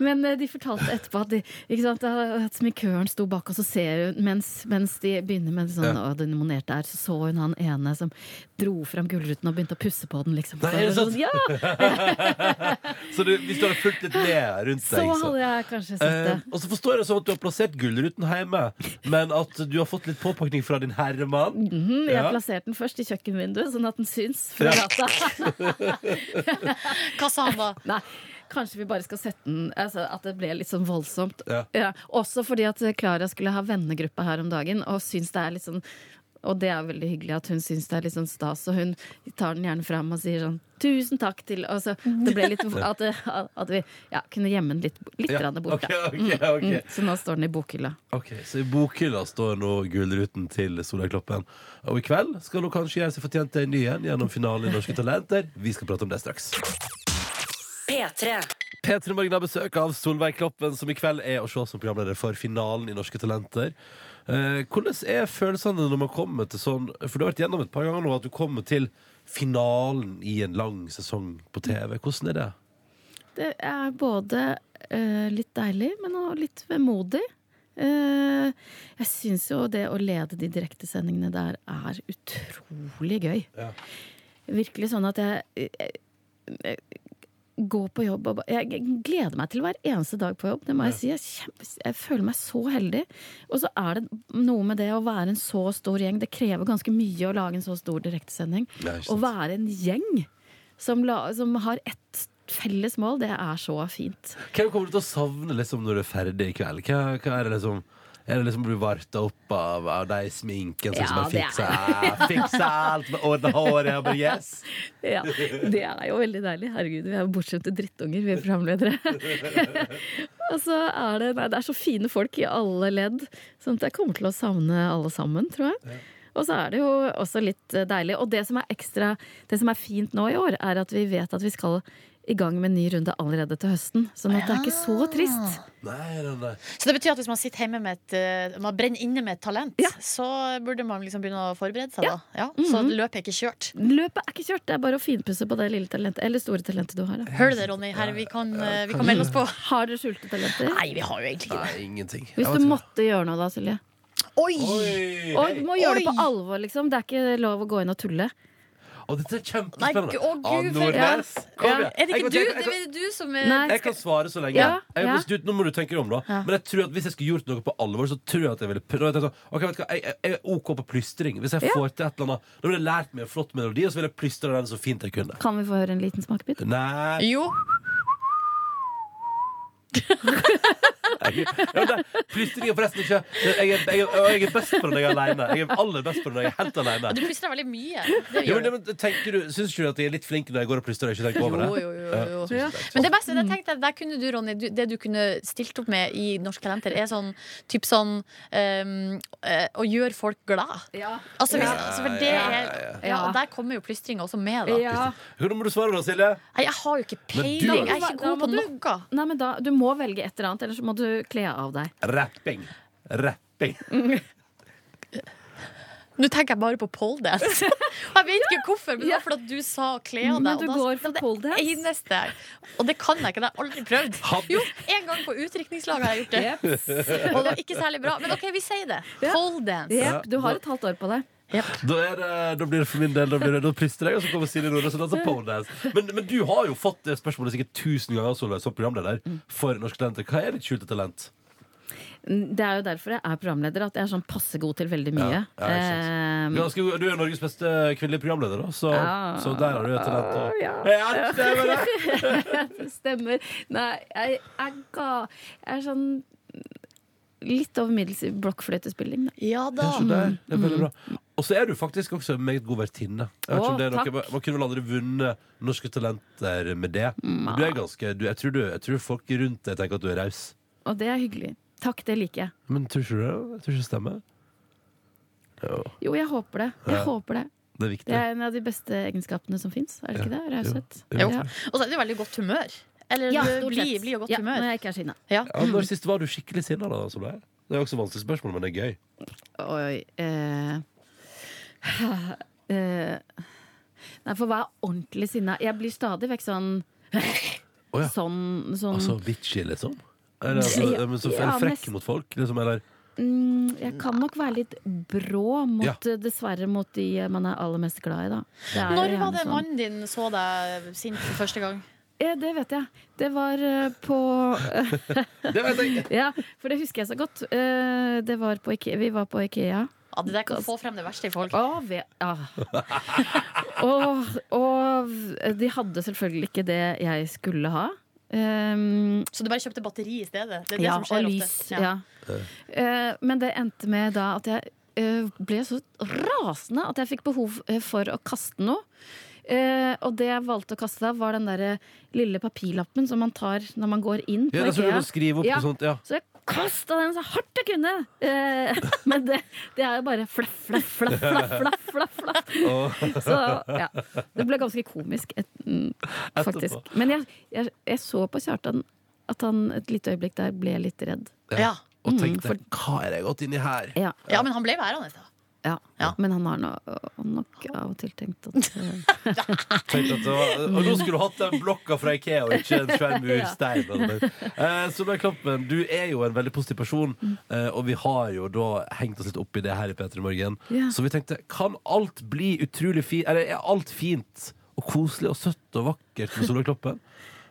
[SPEAKER 14] Men eh, de fortalte etterpå at, de, ikke sant, at smikkøren sto bak, og så ser hun mens, mens de begynner med sånn
[SPEAKER 2] Ja.
[SPEAKER 14] «Å, den nominerte er, så så hun han ene som dro fram gullruten og begynte å pusse på den, liksom.
[SPEAKER 2] Nei, er det
[SPEAKER 14] Så-
[SPEAKER 2] sant?
[SPEAKER 14] Ja!
[SPEAKER 2] så du, hvis du hadde fulgt litt med rundt
[SPEAKER 14] Så
[SPEAKER 2] deg
[SPEAKER 14] hadde jeg kanskje sett det.
[SPEAKER 2] Eh, og så forstår jeg det sånn at du har plassert Gullruten hjemme, men at du har fått litt påpakning fra din herremann.
[SPEAKER 14] Mhm, jeg
[SPEAKER 2] Ja.
[SPEAKER 14] plasserte den først i kjøkkenvinduet, sånn at den syns fra
[SPEAKER 2] Ja.
[SPEAKER 14] gata.
[SPEAKER 3] Hva sa han da?
[SPEAKER 14] Nei, kanskje vi bare skal sette den altså, At det ble litt sånn voldsomt.
[SPEAKER 2] Ja.
[SPEAKER 14] Også fordi at Klara skulle ha vennegruppe her om dagen, og syns det er litt sånn og det er veldig hyggelig at hun syns det er litt sånn stas, og hun tar den gjerne fram og sier sånn 'tusen takk til' og så det ble litt At, det- at vi ja, kunne gjemme den litt, litt
[SPEAKER 2] Ja,
[SPEAKER 14] grann bort, da.
[SPEAKER 2] ok, ok, ok.
[SPEAKER 14] Mm, mm, så nå står den i bokhylla.
[SPEAKER 2] Ok, Så i bokhylla står nå Gullruten til Solveig Kloppen. Og i kveld skal hun kanskje gjøre seg fortjent til en ny en gjennom finalen i Norske Talenter. Vi skal prate om det straks.
[SPEAKER 1] P3.
[SPEAKER 2] P3 Morgen har besøk av Solveig Kloppen, som i kveld er å se som programleder for finalen i Norske Talenter. Eh, hvordan er følelsene når man kommer til sånn For du har vært gjennom et par ganger nå at du kommer til finalen i en lang sesong på TV. Hvordan er det?
[SPEAKER 14] Det er både eh, litt deilig, men også litt vemodig. Eh, jeg syns jo det å lede de direktesendingene der er utrolig gøy. Virkelig sånn at jeg, jeg, jeg går på jobb og ba- Jeg gleder meg til hver eneste dag på jobb, det må jeg si. Jeg, er kjempe, jeg føler meg så heldig. Og så er det noe med det å være en så stor gjeng. Det krever ganske mye å lage en så stor direktesending.
[SPEAKER 2] Ja, ikke sant.
[SPEAKER 14] Å være en gjeng som, la, som har ett felles mål, det er så fint.
[SPEAKER 2] Hvem kommer du til å savne liksom, når du er ferdig i kveld? Hva, hva er det liksom Er det liksom blir varta opp av, av de i sminken sånn som
[SPEAKER 14] Ja,
[SPEAKER 2] har
[SPEAKER 14] det
[SPEAKER 2] fiksa,
[SPEAKER 14] er-
[SPEAKER 2] fiksa alt med ordna håret og bare yes!
[SPEAKER 14] Ja, det er jo veldig deilig. Herregud, vi er jo bortskjemte drittunger, vi er programledere. og så er det Nei, det er så fine folk i alle ledd, sånn at jeg kommer til å savne alle sammen, tror jeg. Og så er det jo også litt eh, deilig. Og det som er ekstra Det som er fint nå i år, er at vi vet at vi skal i gang med en ny runde allerede til høsten. Sånn at det er ikke så trist.
[SPEAKER 2] Nei, nei, nei.
[SPEAKER 3] Så det betyr at hvis man sitter hjemme med et eh, Man brenner inne med et talent, så burde man liksom begynne å forberede seg, da. Ja, så
[SPEAKER 14] Mhm.
[SPEAKER 3] løpet er ikke kjørt.
[SPEAKER 14] Løpet er ikke kjørt, det er bare å finpusse på det lille talentet, eller store talentet du har. da.
[SPEAKER 3] Hører du det, Ronny? Her, vi, kan, eh, vi kan melde oss på.
[SPEAKER 14] Har dere skjulte talenter?
[SPEAKER 3] Nei, vi har jo egentlig ikke det.
[SPEAKER 2] Nei, ingenting.
[SPEAKER 14] Hvis du måtte gjøre noe da, Silje?
[SPEAKER 3] Oi!
[SPEAKER 14] Og du må gjøre det på alvor, liksom. Det er ikke lov å gå inn og tulle.
[SPEAKER 2] Å, dette er
[SPEAKER 14] Nei,
[SPEAKER 2] kjempespennende.
[SPEAKER 14] å, Gud,
[SPEAKER 2] Ah,
[SPEAKER 14] for-
[SPEAKER 2] Nordnes,
[SPEAKER 14] Ja.
[SPEAKER 2] kom
[SPEAKER 14] Ja.
[SPEAKER 2] igjen.
[SPEAKER 14] Er det ikke
[SPEAKER 2] Jeg kan-
[SPEAKER 14] du?
[SPEAKER 2] jeg kan-
[SPEAKER 14] Det er
[SPEAKER 3] du som
[SPEAKER 2] Jeg kan svare så lenge.
[SPEAKER 14] Ja,
[SPEAKER 2] Jeg,
[SPEAKER 14] ja.
[SPEAKER 2] hvis du, nå må du tenke deg om, da. Men jeg tror at hvis jeg skulle gjort noe på alvor, så tror jeg at jeg ville prøvd. Jeg, okay, vet du hva, jeg, jeg- jeg er OK på plystring. Hvis jeg
[SPEAKER 14] Ja.
[SPEAKER 2] får til et eller annet Da ville jeg lært meg en flott melodi, og så ville jeg plystra den så fint jeg kunne.
[SPEAKER 14] Kan vi få høre en liten smakebit?
[SPEAKER 2] Nei
[SPEAKER 3] Jo.
[SPEAKER 2] Jeg, ja, det- plystring er forresten ikke Jeg er, jeg er, og jeg er best på det når jeg er aleine. Jeg er aller best på det når jeg er helt aleine.
[SPEAKER 3] Du plystrer veldig mye. Det
[SPEAKER 2] Ja,
[SPEAKER 3] gjør
[SPEAKER 2] men, det- men tenker du, syns ikke du at jeg er litt flink når jeg går og plystrer og ikke tenker over det?
[SPEAKER 3] Jo, jo, jo,
[SPEAKER 2] Ja.
[SPEAKER 3] jo. Men det beste, det tenkte jeg, der kunne du, Ronny, du, det du kunne stilt opp med i Norsk Talenter, er sånn, typ sånn ehm, eh, å gjøre folk glad. Altså, hvis,
[SPEAKER 2] Ja,
[SPEAKER 3] altså, for det
[SPEAKER 2] ja,
[SPEAKER 3] er,
[SPEAKER 2] ja, ja.
[SPEAKER 3] ja, og der kommer jo plystringa også med, da.
[SPEAKER 2] Hvordan må du svare da, Silje?
[SPEAKER 3] Nei, jeg har jo ikke
[SPEAKER 2] Men du
[SPEAKER 3] peiling.
[SPEAKER 2] har-
[SPEAKER 3] Jeg er ikke god på noe.
[SPEAKER 14] Nei, men da, du må velge et eller annet, ellers må du kle av deg.
[SPEAKER 2] Rapping. Rapping.
[SPEAKER 3] Nå tenker jeg bare på poledance. Jeg vet ikke hvorfor, men det var fordi at du sa kle av deg.
[SPEAKER 14] Men du
[SPEAKER 3] og da-
[SPEAKER 14] går for
[SPEAKER 3] det var
[SPEAKER 14] poledance?
[SPEAKER 3] Det eneste jeg Og det kan jeg ikke, det har jeg aldri prøvd. Jo, en gang på utdrikningslaget har jeg gjort det.
[SPEAKER 14] Yep.
[SPEAKER 3] Og det var ikke særlig bra. Men OK, vi sier det. Poledance.
[SPEAKER 2] Yep,
[SPEAKER 14] Du har et halvt år på deg.
[SPEAKER 2] Da, er det, da blir det for min del Da, blir det, da plystrer jeg, og så kommer Silje Nordnes og danser pole dance. Men, men du har jo fått det spørsmålet sikkert tusen ganger Solveig, som programleder
[SPEAKER 14] Mm.
[SPEAKER 2] for Norske Talenter. Hva er ditt skjulte talent?
[SPEAKER 14] Det er jo derfor jeg er programleder, at jeg er sånn passe god til veldig mye. Eh,
[SPEAKER 2] Ja, ikke sant. Du er ganske- du er Norges beste kvinnelige programleder, da, så,
[SPEAKER 14] Mm. Ja.
[SPEAKER 2] så der har du et talent. Og,
[SPEAKER 14] Ja, det stemmer det! stemmer. Nei, jeg er ga... Jeg er sånn litt over middels i blokkfløytespilling, da. Mm.
[SPEAKER 3] Ja
[SPEAKER 2] Ja, så der. Det er veldig bra. Og så er du faktisk også en meget god vertinne. Jeg vet ikke om
[SPEAKER 14] Å,
[SPEAKER 2] det er
[SPEAKER 14] takk.
[SPEAKER 2] noe, man kunne vel aldri vunnet Norske Talenter med det.
[SPEAKER 14] Mm.
[SPEAKER 2] Men Du er ganske, du, jeg, tror du, jeg tror folk rundt deg tenker at du er raus.
[SPEAKER 14] Og det er hyggelig. Takk, det liker jeg.
[SPEAKER 2] Men tror ikke du det? Jeg tror ikke det stemmer. Jo,
[SPEAKER 14] Jo, jeg håper det. Jeg
[SPEAKER 2] Ja.
[SPEAKER 14] håper det.
[SPEAKER 2] det er viktig.
[SPEAKER 14] Det er en av de beste egenskapene som fins, er det ikke det? Raushet.
[SPEAKER 2] Jo. Jo.
[SPEAKER 14] Ja.
[SPEAKER 3] Og så er det jo veldig godt humør. Eller
[SPEAKER 14] Ja,
[SPEAKER 3] du
[SPEAKER 14] stort
[SPEAKER 3] blir
[SPEAKER 14] sett.
[SPEAKER 3] blir jo godt
[SPEAKER 14] Ja,
[SPEAKER 3] humør.
[SPEAKER 14] når jeg ikke er sinna.
[SPEAKER 3] Ja.
[SPEAKER 2] Ja, når sist var du skikkelig sinna, da? Solveig? Det er også et vanskelig spørsmål, men det er gøy.
[SPEAKER 14] Oi eh, eh, Nei, for hva er ordentlig sinna? Jeg blir stadig vekk sånn
[SPEAKER 2] Å ja.
[SPEAKER 14] Sånn, sånn
[SPEAKER 2] Altså bitchy, liksom? Eller, altså,
[SPEAKER 14] Ja,
[SPEAKER 2] men så
[SPEAKER 14] ja,
[SPEAKER 2] eller frekk
[SPEAKER 14] nesten.
[SPEAKER 2] mot folk, liksom? Eller
[SPEAKER 14] mm, Jeg kan nok være litt brå, mot, dessverre, mot de man er aller mest glad i, da. Det er jo
[SPEAKER 3] Når var
[SPEAKER 14] gjerne
[SPEAKER 3] det
[SPEAKER 14] sånn.
[SPEAKER 3] mannen din så deg sint for første gang?
[SPEAKER 14] Eh, Det vet jeg. Det var eh, på
[SPEAKER 2] Det vet jeg!
[SPEAKER 14] ja, for det husker jeg så godt. Eh, Det var på Ikea. Vi var på Ikea.
[SPEAKER 3] Ja, det der kan få frem det verste i folk.
[SPEAKER 14] Å, ve- ah. ja. og, og de hadde selvfølgelig ikke det jeg skulle ha. Ehm,
[SPEAKER 3] Så du bare kjøpte batteri i stedet? Det er det
[SPEAKER 14] ja,
[SPEAKER 3] som skjer
[SPEAKER 14] og
[SPEAKER 3] ofte.
[SPEAKER 14] lys. Ja. Eh, men det endte med da at jeg eh, ble så rasende at jeg fikk behov eh, for å kaste noe. Eh, og det jeg valgte å kaste da, var den der eh, lille papirlappen som man tar når man går inn.
[SPEAKER 2] Ja,
[SPEAKER 14] på
[SPEAKER 2] det er sånn å
[SPEAKER 14] IKEA.
[SPEAKER 2] skrive opp og sånt, ja.
[SPEAKER 14] Så jeg kasta den så hardt jeg kunne! Eh, men det, det er jo bare flaff, flaff, flaff, flaff, flaff. flaff, flaff. Så ja, det ble ganske komisk, et, mm, faktisk. Men jeg, jeg, jeg så på Kjartan at han et lite øyeblikk der ble litt redd.
[SPEAKER 2] Ja. Og
[SPEAKER 14] Mm,
[SPEAKER 2] tenkte
[SPEAKER 14] for-
[SPEAKER 2] 'hva er det jeg har gått inn i her'?
[SPEAKER 14] Ja.
[SPEAKER 3] Ja, men han ble værende. da.
[SPEAKER 14] Ja. Men han har no, nok av og til tenkt at eh,
[SPEAKER 2] Tenkte at det var, og nå skulle du hatt den blokka fra Ikea og ikke en svær murstein. eller noe. Eh, Solveig Kloppen, du er jo en veldig positiv person, eh, og vi har jo da hengt oss litt opp i det her i P3 Morgen.
[SPEAKER 17] Ja.
[SPEAKER 2] Så vi tenkte, kan alt bli utrolig fint? Eller er alt fint og koselig og søtt og vakkert med Solveig Kloppen?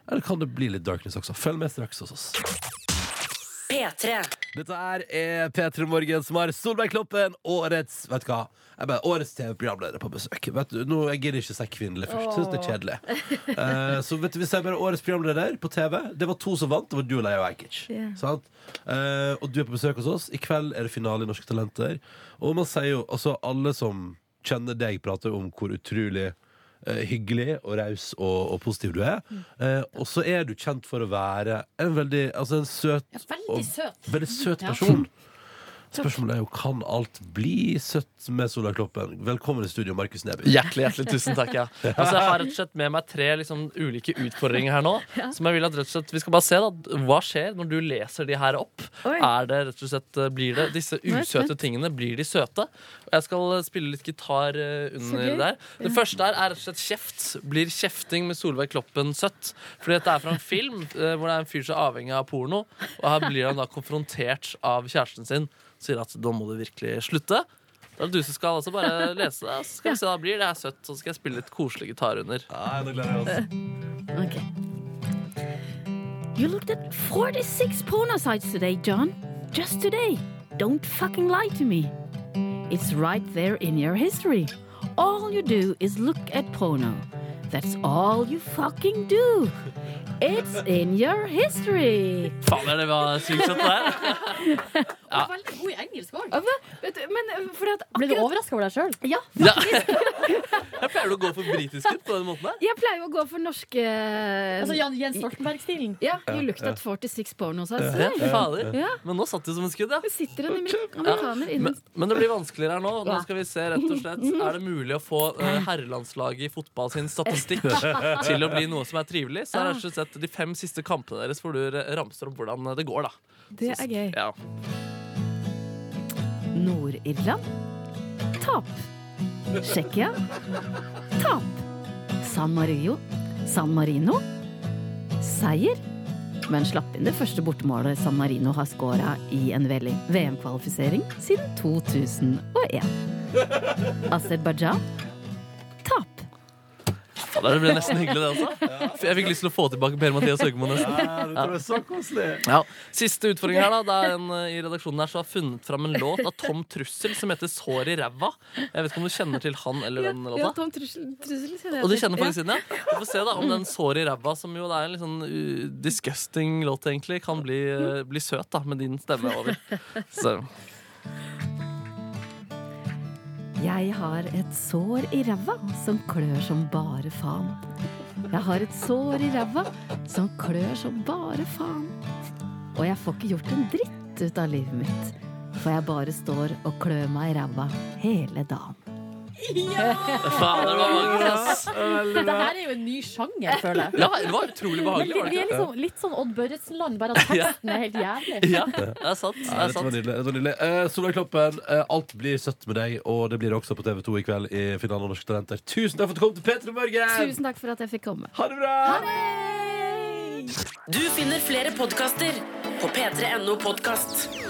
[SPEAKER 2] Eller kan det bli litt darkness også? Følg med straks hos oss.
[SPEAKER 1] P3. P3.
[SPEAKER 2] Dette her er P3 Morgen som har Solveig Kloppen, årets Vet du hva? Jeg bare, årets TV-programleder på besøk. Vet du, nå, Jeg gidder ikke si kvinnelig først. Syns det er kjedelig. Eh, så vet du, vi ser bare årets programleder på TV. Det var to som vant. Det var du og Leia Ajkic.
[SPEAKER 14] Ja.
[SPEAKER 2] Sant? Eh, og du er på besøk hos oss. I kveld er det finale i Norske Talenter. Og man sier jo, altså alle som kjenner deg, prater jo om hvor utrolig eh, hyggelig og raus og, og positiv du er. Eh, og så er du kjent for å være en veldig altså en søt,
[SPEAKER 3] veldig
[SPEAKER 2] og,
[SPEAKER 3] søt.
[SPEAKER 2] veldig søt
[SPEAKER 3] Ja.
[SPEAKER 2] person. Spørsmålet er jo kan alt bli søtt med Solveig Kloppen. Velkommen i studio, Markus Neby.
[SPEAKER 4] Hjertelig, hjertelig tusen takk. Ja. Altså, jeg har rett og slett med meg tre liksom, ulike utfordringer her nå.
[SPEAKER 18] Ja.
[SPEAKER 4] Som jeg vil at rett og slett Vi skal bare se da, hva skjer når du leser de her opp.
[SPEAKER 18] Oi.
[SPEAKER 4] Er det rett og slett eh, Blir det
[SPEAKER 18] Nå
[SPEAKER 4] disse
[SPEAKER 18] er jeg
[SPEAKER 4] usøte
[SPEAKER 18] spent.
[SPEAKER 4] tingene Blir de søte? Og jeg skal eh, spille litt gitar eh, under
[SPEAKER 18] Så gøy.
[SPEAKER 4] der. Det
[SPEAKER 18] Ja.
[SPEAKER 4] første her er rett og slett kjeft. Blir kjefting med Solveig Kloppen søtt? Fordi dette er fra en film eh, hvor det er en fyr som er avhengig av porno. Og her blir han da konfrontert av kjæresten sin. Sier at da må du virkelig slutte. Det er du som skal altså bare lese det. Så skal vi se hva det blir. Det er søtt, så skal jeg spille litt koselig gitar under.
[SPEAKER 14] Okay. You looked at 46 porno sites today, John. Just today. Don't fucking lie to me. It's right there in your history. All you do is look at porno. That's all you fucking do. It's in your history.
[SPEAKER 4] Fader, det var sykt søtt, det der. Ja.
[SPEAKER 3] Veldig god i engelsk òg.
[SPEAKER 14] Ble
[SPEAKER 3] du overraska over deg sjøl?
[SPEAKER 14] Ja.
[SPEAKER 4] Jeg pleier å gå for britisk ut på den måten der.
[SPEAKER 14] Jeg pleier jo å gå for norske
[SPEAKER 3] Altså Jan- Jens Stoltenberg-stilen?
[SPEAKER 14] Ja.
[SPEAKER 4] Ja,
[SPEAKER 14] You looked
[SPEAKER 4] ja.
[SPEAKER 14] at 46 porno sites
[SPEAKER 4] Ja,
[SPEAKER 14] today.
[SPEAKER 4] fader.
[SPEAKER 14] Ja.
[SPEAKER 4] Men nå satt du som en skudd, ja.
[SPEAKER 14] Sitter en amerikaner
[SPEAKER 4] Men,
[SPEAKER 14] inne
[SPEAKER 4] men det blir vanskeligere her nå. Nå
[SPEAKER 14] Ja.
[SPEAKER 4] skal vi se rett og slett Er det mulig å få eh, herrelandslaget i fotball sin statistikk til å bli noe som er trivelig. Så er det rett og slett de fem siste kampene deres hvor du eh, ramser opp hvordan det går, da.
[SPEAKER 14] Det er gøy.
[SPEAKER 4] Ja.
[SPEAKER 14] Nord-Irland. Tap. Tsjekkia. Tap. San Marino. San Marino. Seier. Men slapp inn det første bortemålet San Marino har scora i en vel- VM-kvalifisering siden 2001. Aserbajdsjan.
[SPEAKER 4] Fader, det ble nesten hyggelig, det også. For Jeg fikk lyst til å få tilbake Per-Mathias Høgmo nesten. Ja.
[SPEAKER 2] så koselig.
[SPEAKER 4] Ja. Siste utfordring her, da. Det er en eh, i redaksjonen her som har funnet fram en låt av Tom Trussel som heter 'Sår i ræva'. Jeg vet ikke om du kjenner til han eller den låta?
[SPEAKER 14] Tom Trussel, Trussel kjenner jeg
[SPEAKER 4] Og du
[SPEAKER 14] til.
[SPEAKER 4] kjenner
[SPEAKER 14] Ja.
[SPEAKER 4] faktisk inn, ja? Vi får se da om den sår i ræva, som jo det er en litt sånn uh, disgusting låt, egentlig, kan bli,
[SPEAKER 14] Mm.
[SPEAKER 4] uh, bli søt da, med din stemme over. Så.
[SPEAKER 14] Jeg har et sår i ræva som klør som bare faen. Jeg har et sår i ræva som klør som bare faen. Og jeg får ikke gjort en dritt ut av livet mitt, for jeg bare står og klør meg i ræva hele dagen.
[SPEAKER 4] Fader, det var mange, ass.
[SPEAKER 3] Dette her er jo en ny sjanger, føler jeg.
[SPEAKER 4] Ja, det var utrolig
[SPEAKER 3] Men
[SPEAKER 4] behagelig.
[SPEAKER 3] vi, vi er liksom, litt sånn Odd Børretzen-land, bare at teksten er helt jævlig.
[SPEAKER 4] Ja, det er sant. Det
[SPEAKER 2] Ja, dette
[SPEAKER 4] er
[SPEAKER 2] var
[SPEAKER 4] sant.
[SPEAKER 2] nydelig. Dette var nydelig. Eh, Solveig Kloppen, eh, alt blir søtt med deg, og det blir det også på TV2 i kveld i finalen av Norske Talenter. Tusen takk for at du kom til P3 Morgen!
[SPEAKER 14] Tusen takk for at jeg fikk komme.
[SPEAKER 2] Ha det bra!
[SPEAKER 1] Du finner flere podkaster på p3.no podkast.